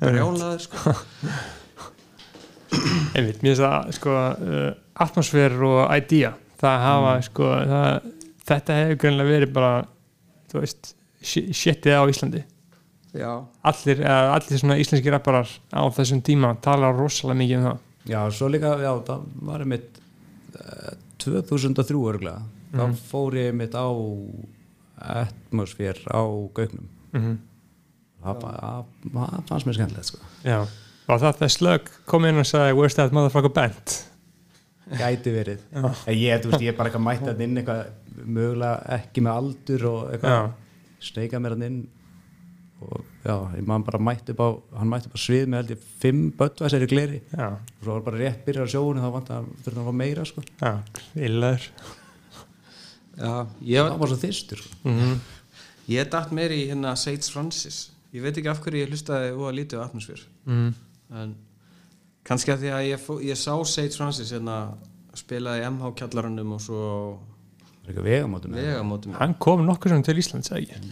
brjálaður sko einmitt, mér finnst það sko uh, atmosfér og idea það hafa sko það, þetta hefur greinlega verið bara þú veist, shitið á Íslandi Já, allir, eða allir svona íslenski rapparar á þessum tíma tala rosalega mikið um það já, svo líka já, það var einmitt eh, 2003 örgla þá Mm. fór ég einmitt á atmosfér á gaugnum Mhm. það ba- það- það fannst mér skemmtilegt sko. já, og það þegar slög kom inn og sagði where's that motherfucker band gæti verið En ég, þú veist, ég er bara eitthvað mætt að inn eitthvað mögulega ekki með aldur og eitthvað Já. sneika mér hann inn og já, ég man bara mætt upp á hann mætt upp á svið með held ég fimm böttvæsir í gleri já, og svo var bara rétt byrjar að sjóinu þá vant að þurfti hann að fá meira sko já, illaður já, ég var það var svo þyrstur sko Ég datt meir í hérna Sage Francis Ég veit ekki af hverju ég hlustaði og að lítið á atmosfér mm. en kannski að því að ég, fó, ég sá Sage Francis hérna spilaði í MH kjallaranum og svo það er eitthvað vegamótum eða? vegamótum hann kom nokkur sem til Ísland, sagði ég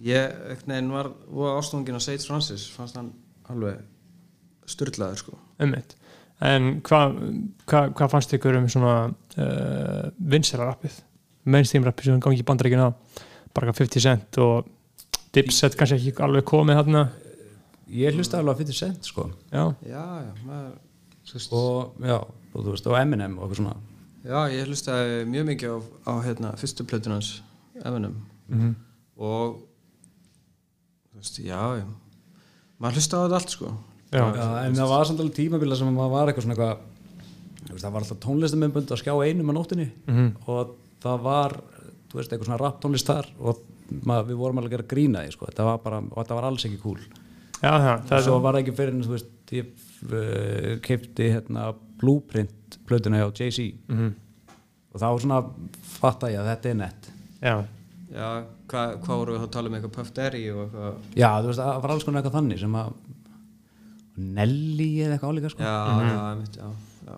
Ég ekkert neginn var og ástóngin á Sage Francis fannst hann alveg styrlaður sko einmitt en hvað hva, hva fannst ykkur um svona uh, vinsælarappið mainstream-rappið sem gangi í bandaríkina bara eitthvað 50 cent og Dipset kannski ekki alveg komið þarna ég hlusta alveg að fyrir sent sko já, Já, já, maður þú veist, og já, og þú veist, og Eminem og eitthvað svona Já, ég hlustaði mjög mikið á, á hérna, fyrstu plötun hans Eminem og þú veist, já, já maður hlustaði á þetta allt sko já, já, en það var samt alveg tímabila sem maður var eitthvað svona eitthvað þú veist, það var alltaf tónlistamömbund að skjá einum á nóttinni og það var þú veist, eitthvað svona rap tónlist þar og maður, við vorum alveg að gera grína því sko. þetta var bara, og þetta var alls ekki cool já, já, það og svo var það ekki fyrir en þú veist ég uh, keipti hérna Blueprint plötuna hjá Jay-Z og þá svona fatta ég að þetta er nett já, já, hva, hvað voru við þá að tala um eitthvað Puff Derry og eitthvað já, þú veist, það var alls konar eitthvað þannig sem að Nelly eða eitthvað álíka sko já, já, einmitt, já, já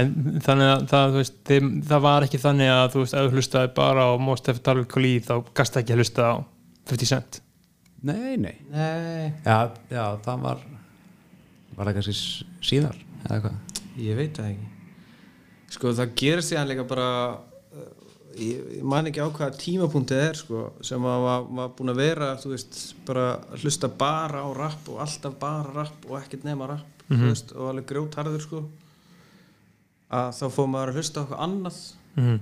en þannig að það, þú veist, þeim, það var ekki þannig að þú veist, ef þú hlustaði bara á Most Def Talib Kali þá gasta ekki að hlusta á 50 cent nei, nei nei, Já, já, það var var það kannski s- síðar eða hvað? ég veit það ekki sko það gerir sig hann líka bara uh, ég, ég man ekki á hvaða tímapunktið er sko sem að var, var búin að vera þú veist, bara að hlusta bara á rapp og alltaf bara rapp og ekkert nema rapp þú veist, og alveg grjótarður sko að þá fór maður að hlusta á eitthvað annað mm.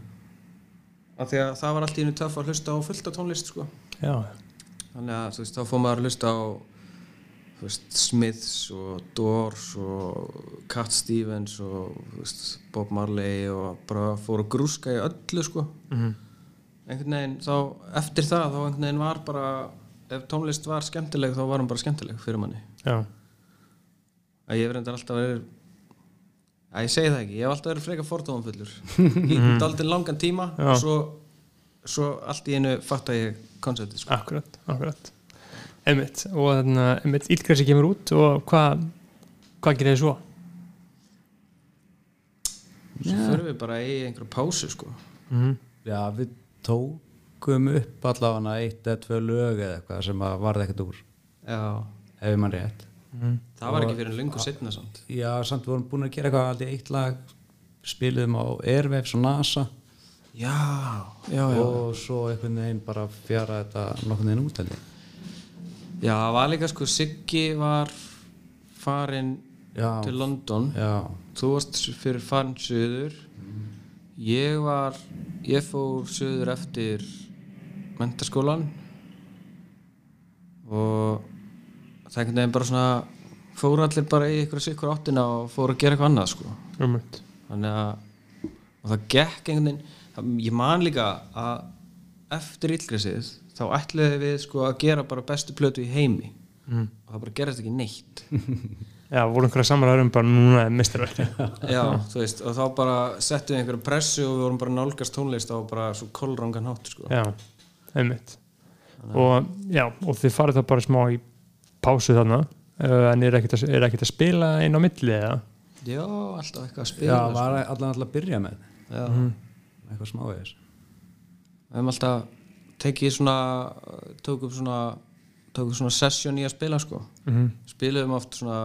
af því að það var allt í einu töff að hlusta á fullta tónlist sko já, Þannig að þú veist, þá fór maður að hlusta á þú veist, Smiths og Doors og Cat Stevens og þú veist, Bob Marley og bara fór að grúska í öllu sko. Mhm. Einhvern veginn þá, eftir það, þá einhvern veginn var bara, ef tónlist var skemmtileg þá var hann bara skemmtileg fyrir manni. já, Að ég hef reyndar alltaf verið, að ég segi það ekki, ég hef alltaf verið freka fordóðanfullur. Í daldinn langan tíma Já. og svo, svo allt í einu fatta ég konceptið sko. akkurat, akkurat einmitt, og þannig að einmitt ílgræsi kemur út og hvað hvað gerir þið svo? Svo förum við bara í einhverju pásu sko Já, við tókum upp allavega eitt eða tvö lög eða eitthvað sem að varð ekkert úr Já ef við mann rétt Það var ekki fyrir lengur setna samt Já, samt vorum búin að gera eitthvað aldrei eitt lag spiluðum á Airwaves og NASA Já, já, já og svo einhvern veginn bara fjara þetta nokkurn veginn út held ég. Já, það var líka sko Siggi var farin Já, til London já, Þú varst fyrir farin söður Ég var ég fór söður eftir mentaskólan og það einhvern veginn bara svona fóru allir bara í einhverju sikkur áttina og fóru að gera eitthvað annað sko Rúmult. þannig að og það gekk einhvern veginn það, ég man líka að eftir illgræsið þá ætluði við sko að gera bara bestu plötu í heimi og það bara gerðist ekki neitt Já, voru einhverja samræðurum um bara núna er mistarverk já, þú veist, og þá bara settum við einhverja pressu og við vorum bara að nálgast tónlist á bara svo kolrangan hátt sko. Já, einmitt og, já, og þið farið það bara smá í pásu þarna uh, en er ekkert að, er ekkert að spila inn á milli eða? já, alltaf eitthvað að Já, spila sko. var allan alltaf að byrja með já. Mhm. eitthvað smávegis við höfum alltaf tekið svona tókum svona tókum svona sesjón í að spila sko -hmm. spiluðum oft svona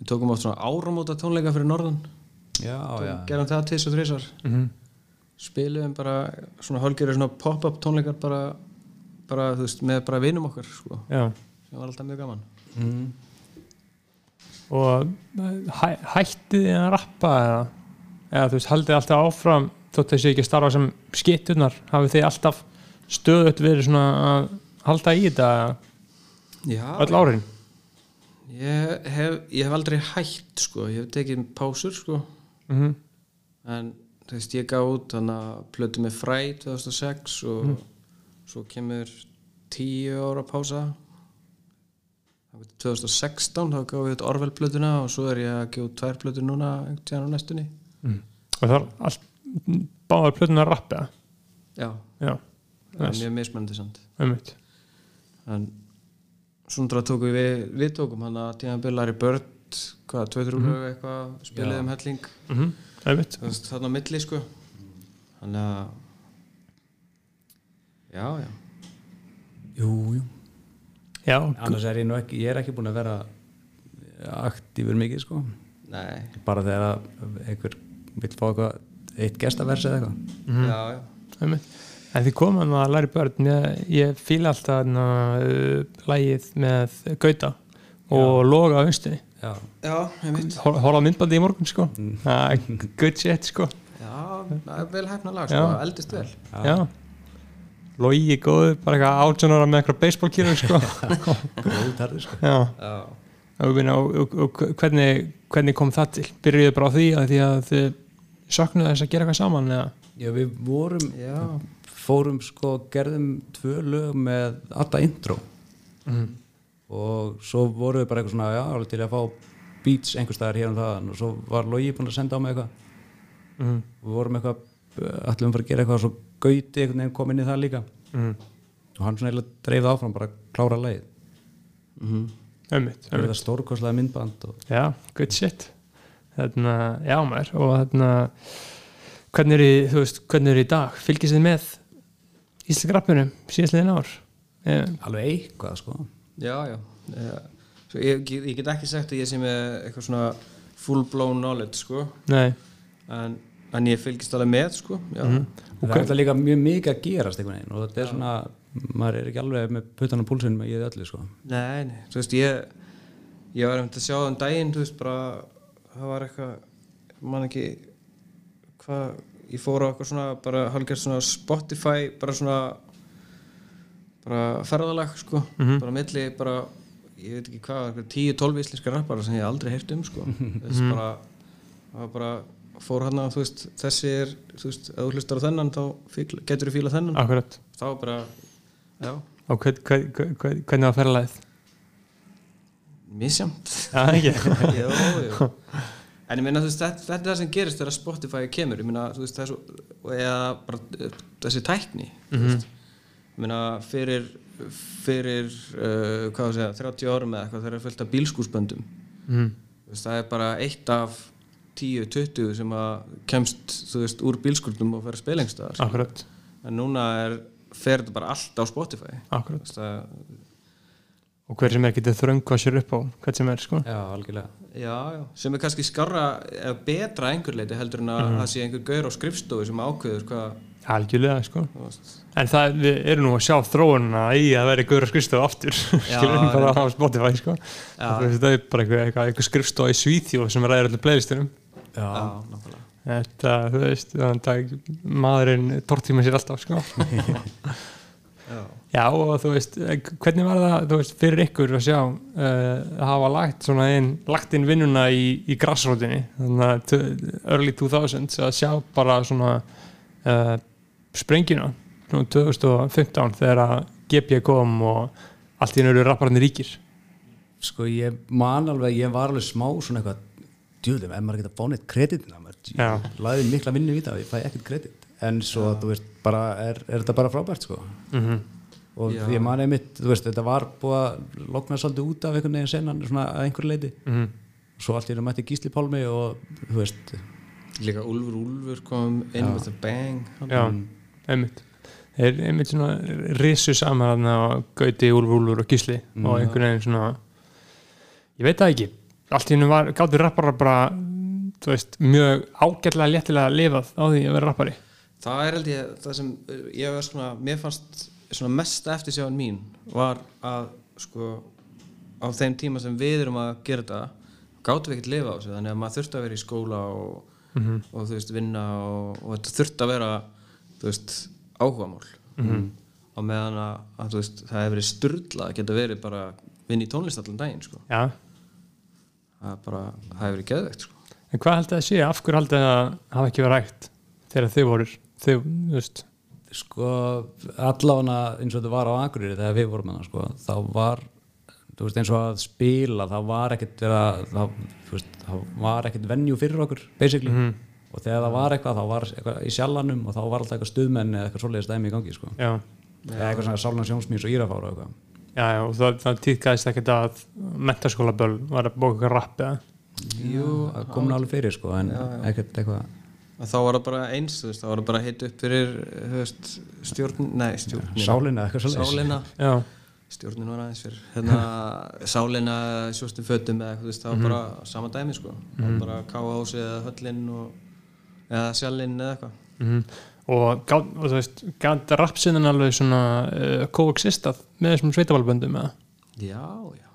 við tókum oft svona áramóta tónleika fyrir norðan Já, já, gerðum það tís og þrísar -hmm. spiluðum bara svona hálfgerður svona pop-up tónleikar bara, bara þú veist með bara vinum okkar sko Já, sem var alltaf mjög gaman og uh, hæ, hættið þið að rappa eða, eða þú veist, haldið þið alltaf áfram þótt þessi ekki að starfa sem skitturnar hafið þið alltaf stöðut verið svona að halda í þetta já, öll árin ég hef, ég hef aldrei hætt sko, ég hef tekið pásur sko mm -hmm. en þú veist ég gaf út þannig að plötu með fræ 2006 og svo kemur 10 ára pása Það var 2016 þá gaf ég út Orwell plötuna og svo er ég að gefa út tvær plötur núna einhvern tíðan á næstunni og það er allt báðar plötun að rappa eða? já, Já, það er Nice. mjög mismennandi samt einmitt en svona tókum við við tókum hann að tíðan byrlari börn hvað, 2-3 mm Mhm. eitthvað spiluðum helling mm einmitt Þú veist, þarna á milli sko þannig að já, já jú, jú Já, Annars er ég nú ekki, ég er ekki búin að vera aktífur mikið sko Nei, bara þegar að einhver vill fá eitthvað eitt gestaversi eða eitthvað Mhm. já, já. einmitt En þið komum að læri börn ég, ég fíla alltaf na, uh, lægið með Gauta og Loga á unstinni Já, Já, einmitt. Hóla myndbandi í morgun sko Það er good shit sko Já, það er vel hefna lag, Já. sko, eldist vel. Já Logi góður, bara eitthvað átjónara með eitthvað baseballkýrur sko góðtarði sko Já Já. og, minna, og, og, og hvernig, hvernig kom það til? Byrjuðu bara á því að því að þið saknuðu þess að gera eitthvað saman eða? Já, við vorum, Já. fórum sko, gerðum tvö lög með alltaf intro og svo vorum við bara eitthvað svona, já, alveg til að fá beats einhver staðar hér um þaðan og svo var Logi búinn að senda á mig eitthvað Mhm. við vorum eitthvað, allir um að fara að gera eitthvað og svo Gauti einhvern veginn kom inn í það líka Mm. og hann svona eiginlega dreifði áfram bara að klára leið, Ömmit, það er það stórkoslega myndband og Já, good shit þarna, Já maður og þarna hvernig er, í- þú veist, hvernig er í dag? Fylgist þið með Íslensk rappunum síðastliðin ár? Eh, alveg eitthvað sko Já, já. Eh, Svo ég, ég, ég get ekki sagt að ég sé með eitthvað svona full blown knowledge, sko, Nei, en, en ég fylgist alveg með, sko, já. Mhm. það er alltaf líka mjög mikið að gerast einhvern veginn og þetta er svona, maður er ekki alveg með puttan á púlsinn í öllu sko Nei, nei, þú veist, ég, ég var einmitt að sjá þann daginn, þú veist, bara, það var eitthvað, mann ekki, hvað, ég fór á eitthvað svona, bara halgjast svona Spotify, bara svona, bara ferðalag sko bara milli bara ég veit ekki hvað, einhver 10-12 íslenska rappara sem ég aldrei heyrt um sko þess bara, það var bara fór hann að þú veist, þessi er þú veist, ef þú hlustar á þennan þá fíl, getur þú fíla þennan, akkurat þá var bara já, og hvern, hvern, hvern, hvern, hvernig var ferðalæð? misjamt Já, ekki já, já en ég meina þú veist, þetta, þetta er það sem gerist þegar Spotify kemur, ég meina þú veist, það er svo eða bara eh, þessi tækni þú veist Ég meina, fyrir, fyrir uh, hvað þú segja, 30 árum eða eitthvað þeir eru fullt af bílskúsböndum mm. Þú veist, það er bara eitt af 10-20 sem að kemst þú veist, úr bílskúsböndum og fer að spila einhverstaðar Akkurat, en núna er, fer þetta bara allt á Spotify Þú akkurat veist, það, og hver sem er getið þröngu að sér upp á hvern sem er sko Já, algjörlega já, já, sem er kannski skarra eða betra að einhver leiti heldur en að það sé einhver gaur á skrifstofu sem ákveður hvað, algjörlega sko þú veist en það, við erum nú að sjá þróunna í að vera Guður skrifstof aftur skilum bara á Spotify sko það er bara eitthvað, eitthvað, eitthvað skrifstof í Svíþjóð sem ræðir öllu playlistunum já, nákvæmlega þetta, þú veist, þannig að maðurinn tortíma sér alltaf sko já. Já og þú veist, eh, hvernig var það þú veist, fyrir ykkur að sjá uh, að hafa lagt, svona inn, lagt inn vinnuna í, í grassrótinni þannig að t- early 2000s að sjá bara svona uh, springina svona 2015 þegar að GP kom og allt í nöru rappararnir ríkir sko ég man alveg, ég var alveg smá svona eitthvað, djúðum, ef maður geta fá neitt kreditina, Já. maður laði mikla vinnu í það, ég fæ ekkert kredit en svo, þú veist, bara, er, er þetta bara frábært sko, -hmm. og ég man einmitt, þú veist, þetta var búið að lokna svolítið út af einhvern veginn senan svona að einhverju leiti, Mm svo allt í einu mætti Gísli Pálmi og, þú veist Líka Úlfur Úlfur kom inn with a bang Já, einmitt Mm. Þeir einmitt svona risu saman þarna og Gauti, Úlfur, Úlfur og Gísli og einhvern veginn svona ég veit það ekki, allt í hennum var gáttu rapparar bara, þú veist mjög ágætlega léttilega lifað á því að vera rappari Það er held ég það sem uh, ég var svona, mér fannst svona mesta eftirsjáðan mín var að sko á þeim tíma sem við erum að gera þetta gáttum við ekkert lifa á þessu þannig að maður þurfti að vera í skóla og, og þú veist vinna og, og þetta þurfti að vera þú veist áhugamál á meðan að, að þú veist það hefur verið styrla að geta verið bara vinna í tónlist allan daginn sko Já, það er bara, það hefur verið geðveikt sko en hvað haldið að sé af hverju haldið að hafa ekki verið rægt þegar þau voru, þau, þú veist sko allavega eins og þetta var á Akureyri þegar við vorum hana sko, þá var þú veist eins og að spila það var ekkert vera, það, þú veist, það var ekkert venju fyrir okkur basically Mhm. og þegar það var eitthvað þá var eitthvað í sjallanum og þá var alltaf eitthvað stuðmenn eða eitthvað svoleiðist dæmi í gangi sko Já, eða eitthvað svona sálans Jónsmýrs og Írafára og eitthvað já, já og það, það týðkaðist ekkert að mentaskóla böl var að bóka eitthvað rapp eða Jú, það kom nú alveg fyrir sko en ekkert eitthvað að þá var það bara eins, þú veist, þá var það bara heitt upp fyrir þú veist, stjórn, nei, stjórnina sálina eitthvað svoleiðis sálina, Já, stjórnin var aðeins fyrir hérna, sálina, svörstum fötum eða eitthvað, þú veist, Mhm. það var bara sama dæmi sko, það var bara káhásið eða höllin og, eða sjallinn eða eitthvað -hmm. og, gát, og þú veist gæt rapsiðan alveg svona uh, coexistað með þessum sveitavalböndum eða? já, já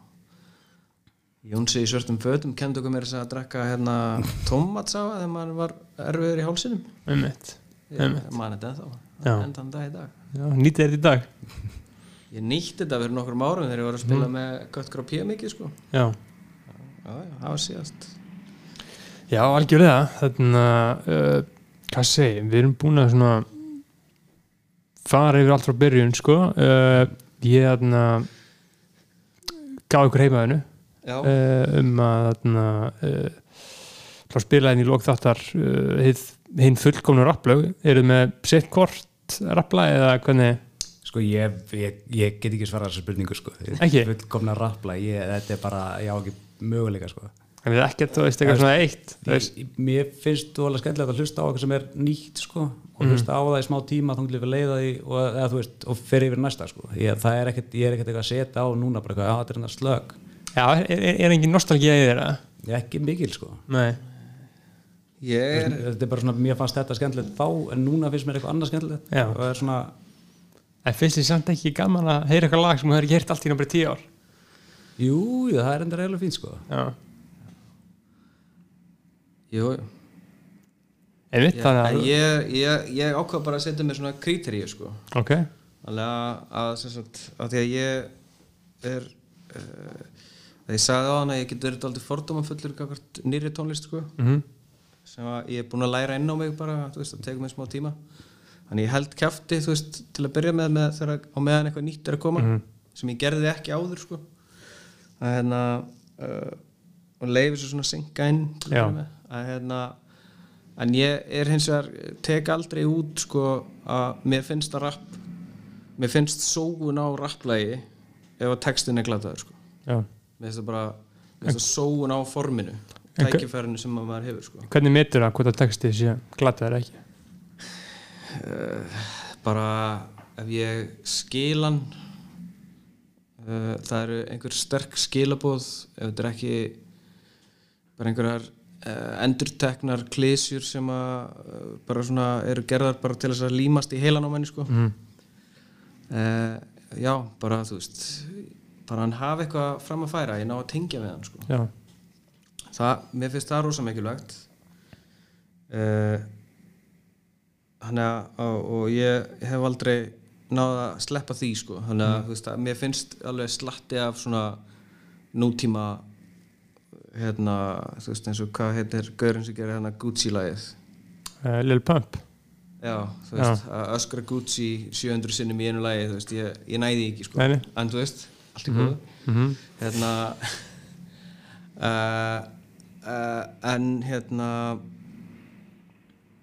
Jónsi í svörstum fötum kendi okkur mér þess að drekka hérna tómatsáa þegar maður var erfiður í hálsinum einmitt, einmitt ég man þetta ennþá, Já. endan dag í dag Já, nýtið þetta í dag ég nýtti þetta fyrir nokkrum árum þegar ég var að spila Mhm. með Gött Grápía mikið sko Já, Já, já, það var síðast Já algjörlega þannig að uh, hvað segi, við erum búin að svona fara yfir allt frá byrjun sko uh, ég þarna gaf ykkur heimaðinu Já, uh, um að þarna uh, þá spilaðin í lók þáttar uh, hið- hinn fullkomnu rapplög eru með sitt kort rappla eða hvernig Sko ég, ég, ég get ekki svarað þessu spurningu sko Ekki? Fullkomna rappla, ég, þetta er bara, ég á ekki möguleika sko en við ekkert, þú veist, eitthvað svona eitt þú veist, Ég- Mér finnst þú alveg skemmtilegt að hlusta á eitthvað sem er nýtt sko og Mm. hlusta á það í smá tíma þá til við leiða því og, eða, þú veist, og fer yfir næsta sko ég, það er ekkert, ég er ekkert eitthvað að setja á núna bara eitthvað, já þetta er hérna hennar slög já, er, er, er engin nostalgía í þeirra? ekki mikil sko Nei, ég er þetta er bara svona, mér fannst þetta skemmtilegt þá en núna finnst mér eitthvað annað skemmtilegt Já. og það er svona, en finnst þið samt ekki gaman að heyra eitthvað lag sem þú hefur gert allt í náttúrulega tíu ár jú, jú, það er endur eiginlega fínt sko já, Jú, einmitt, ég, þannig en að ég, ég, ég ákvað bara að setja mér svona kríteríu sko ok, Þannig að, að, sem sagt, að því að ég er uh, að ég sagði á hann að ég get verið aldrei fordómanfullur kakvart nýri tónlist sko mhm, sem að ég er búinn að læra inn á mig bara, þú veist, það tekur mig smá tíma þannig ég held kæfti, þú veist, til að byrja með, með þegar að- á meðan eitthvað nýtt er að koma Mhm. sem ég gerði ekki áður, sko að hérna uh, og leiði svo svona synga inn til að Já. byrja með. að hérna en ég er hins vegar, tek aldrei út sko, að mér finnst að rapp mér finnst sóun á rapplægi ef að textin er glataður, sko já mér finnst það bara, mér finnst það sóun á forminu En hver- tækifærinu sem að maður hefur, sko hvernig metur það hvort að texti sé glata eða ekki bara ef ég skilan uh, það eru einhver sterk skilabóð ef þetta er ekki bara einhverjar uh, endurteknar klísjur sem að uh, bara svona eru gerðar bara til þess að límast í heilan á manni sko mm. já, bara þú veist bara hann hafi eitthvað fram að færa ég ná að tengja við hann sko já, það, mér finnst það rosa mikilvægt Eh, uh, þannig að og, og ég hef aldrei náða að sleppa því sko þannig að, þú veist, að mér finnst alveg slatti af svona nútíma hérna, þú veist eins og hvað heitir gaurinn sem gerir hérna Gucci-lægið uh, Lil Pump já, þú veist, að öskra Gucci 700 sinnum í einu lægi, þú veist ég, ég næði því ekki sko, Nei, Mhm, nei. en þú veist allt í góðu hérna uh, uh, en hérna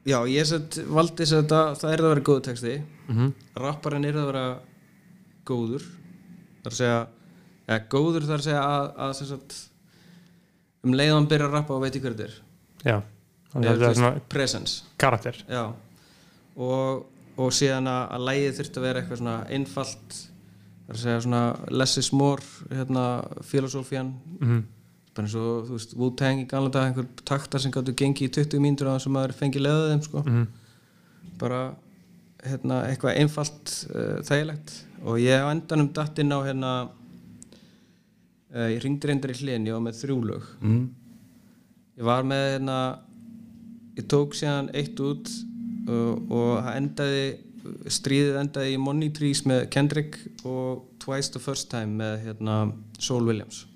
já, ég sett valdi þess að þetta, það er að vera góðu texti Mhm. rapparinn er að vera góður þar að segja eða góður þar að segja að, að sem sagt, um leið og hann byrja að rappa og veit í hverju þetta er já Þannig Eða, að þú þetta er veist, svona presence karakter já og, og síðan að, að lægið þurfti að vera eitthvað svona einfalt þar að segja svona less is more hérna filosófían Mhm. bara eins og þú veist Wu-Tang í gamla dag einhver taktar sem gáttu gengið í 20 mínútur á þessum maður fengið leiðið þeim sko Mhm. bara hérna eitthvað einfalt uh, þægilegt og ég á endanum datt inn á hérna uh, ég ringdi reyndar í hliðin ég var með þrjúlög Mhm. mm. ég var með hérna ég tók síðan eitt út uh, og það endaði stríðið endaði í Money Trees með Kendrick og Twice the First Time með hérna Soul Williams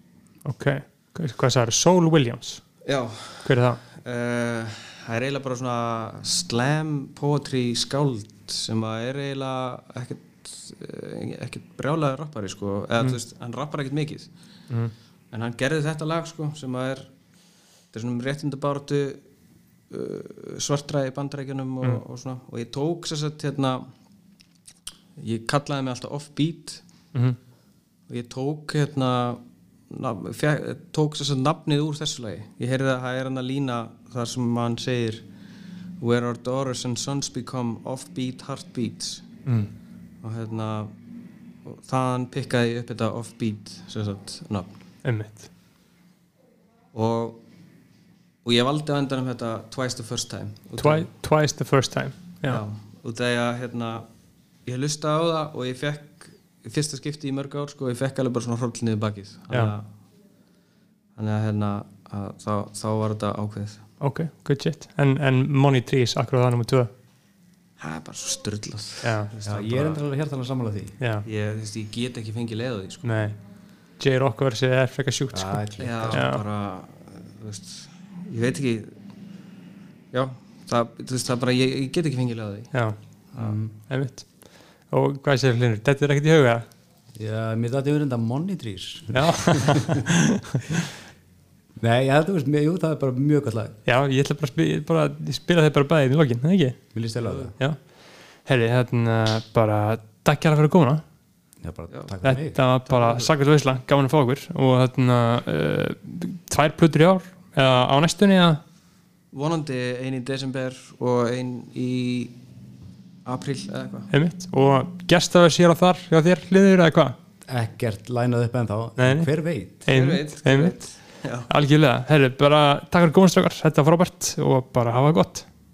Ok, hvað hvað sagði, Soul Williams já Hver er það? uh, það er eiginlega bara svona slam poetry skáld sem að er eiginlega ekkert eh, ekkert brjálega rappari sko eða þú veist, hann rappar ekkert mikið Mm. en hann gerði þetta lag sko sem að er þetta er svona um réttindabáratu uh, svartra í bandrækjunum og, og svona og ég tók sér sett hérna ég kallaði mig alltaf offbeat Mm og ég tók hérna nafn, fjæ, tók þess að nafnið úr þessu lagi ég heyrði að það er hann að lína þar sem hann segir where our daughters and sons become offbeat heartbeats mm. og hérna og þaðan pikkaði ég upp þetta offbeat sem sagt nafn Einmitt og, og ég valdi á endanum þetta twice the first time Út af- Twi Twice the first time Já, Já, og það er að hérna, ég hlusta á það og ég fekk í fyrsta skipti í mörg ár sko, ég fekk alveg bara svona hroll niður bakið þannig Já. að, þannig að, hérna, að þá, þá var þetta ákveðið ok, good shit En, en Money Trees, akkur það nummer 2 það er bara svo styrlað Já, ég er endur alveg hérna að samála því já, ég, þú veist, ég get ekki fengið leið á því sko. nei J-Rock versi er frekar sjúkt sko. Ætli. já, Já. bara þú veist, ég veit ekki já, það, þú veist, það er bara ég, ég get ekki fengið leið á því Já, einmitt Og hvað sér hlinur, þetta er ekkert í huga Já, mér dætti verið enda monitrís Já, Nei, ég held að veist, mér, jú, það er bara mjög gott lag já ég ætla bara að spila, bara, að spila þeir bara bæðið í lokin, það ekki? Mér líst eða á það Já, herri, hérna bara takk hérna fyrir komuna Já, bara takk fyrir mig Þetta var bara sakvært veisla, gaman að fá okkur og hérna uh, tvær plötur í ár eða á næstunni eða vonandi ein í desember og ein í april eða eitthvað einmitt og gestaður sér á þar hjá þér hliður eða hvað? Ekkert lænað upp ennþá Nei, nei. Hver veit? Hver Einmitt, veit, hver einmitt veit. já Algjörlega, herri, bara takk fyrir góðan strákar, þetta var frábært og bara hafa það gott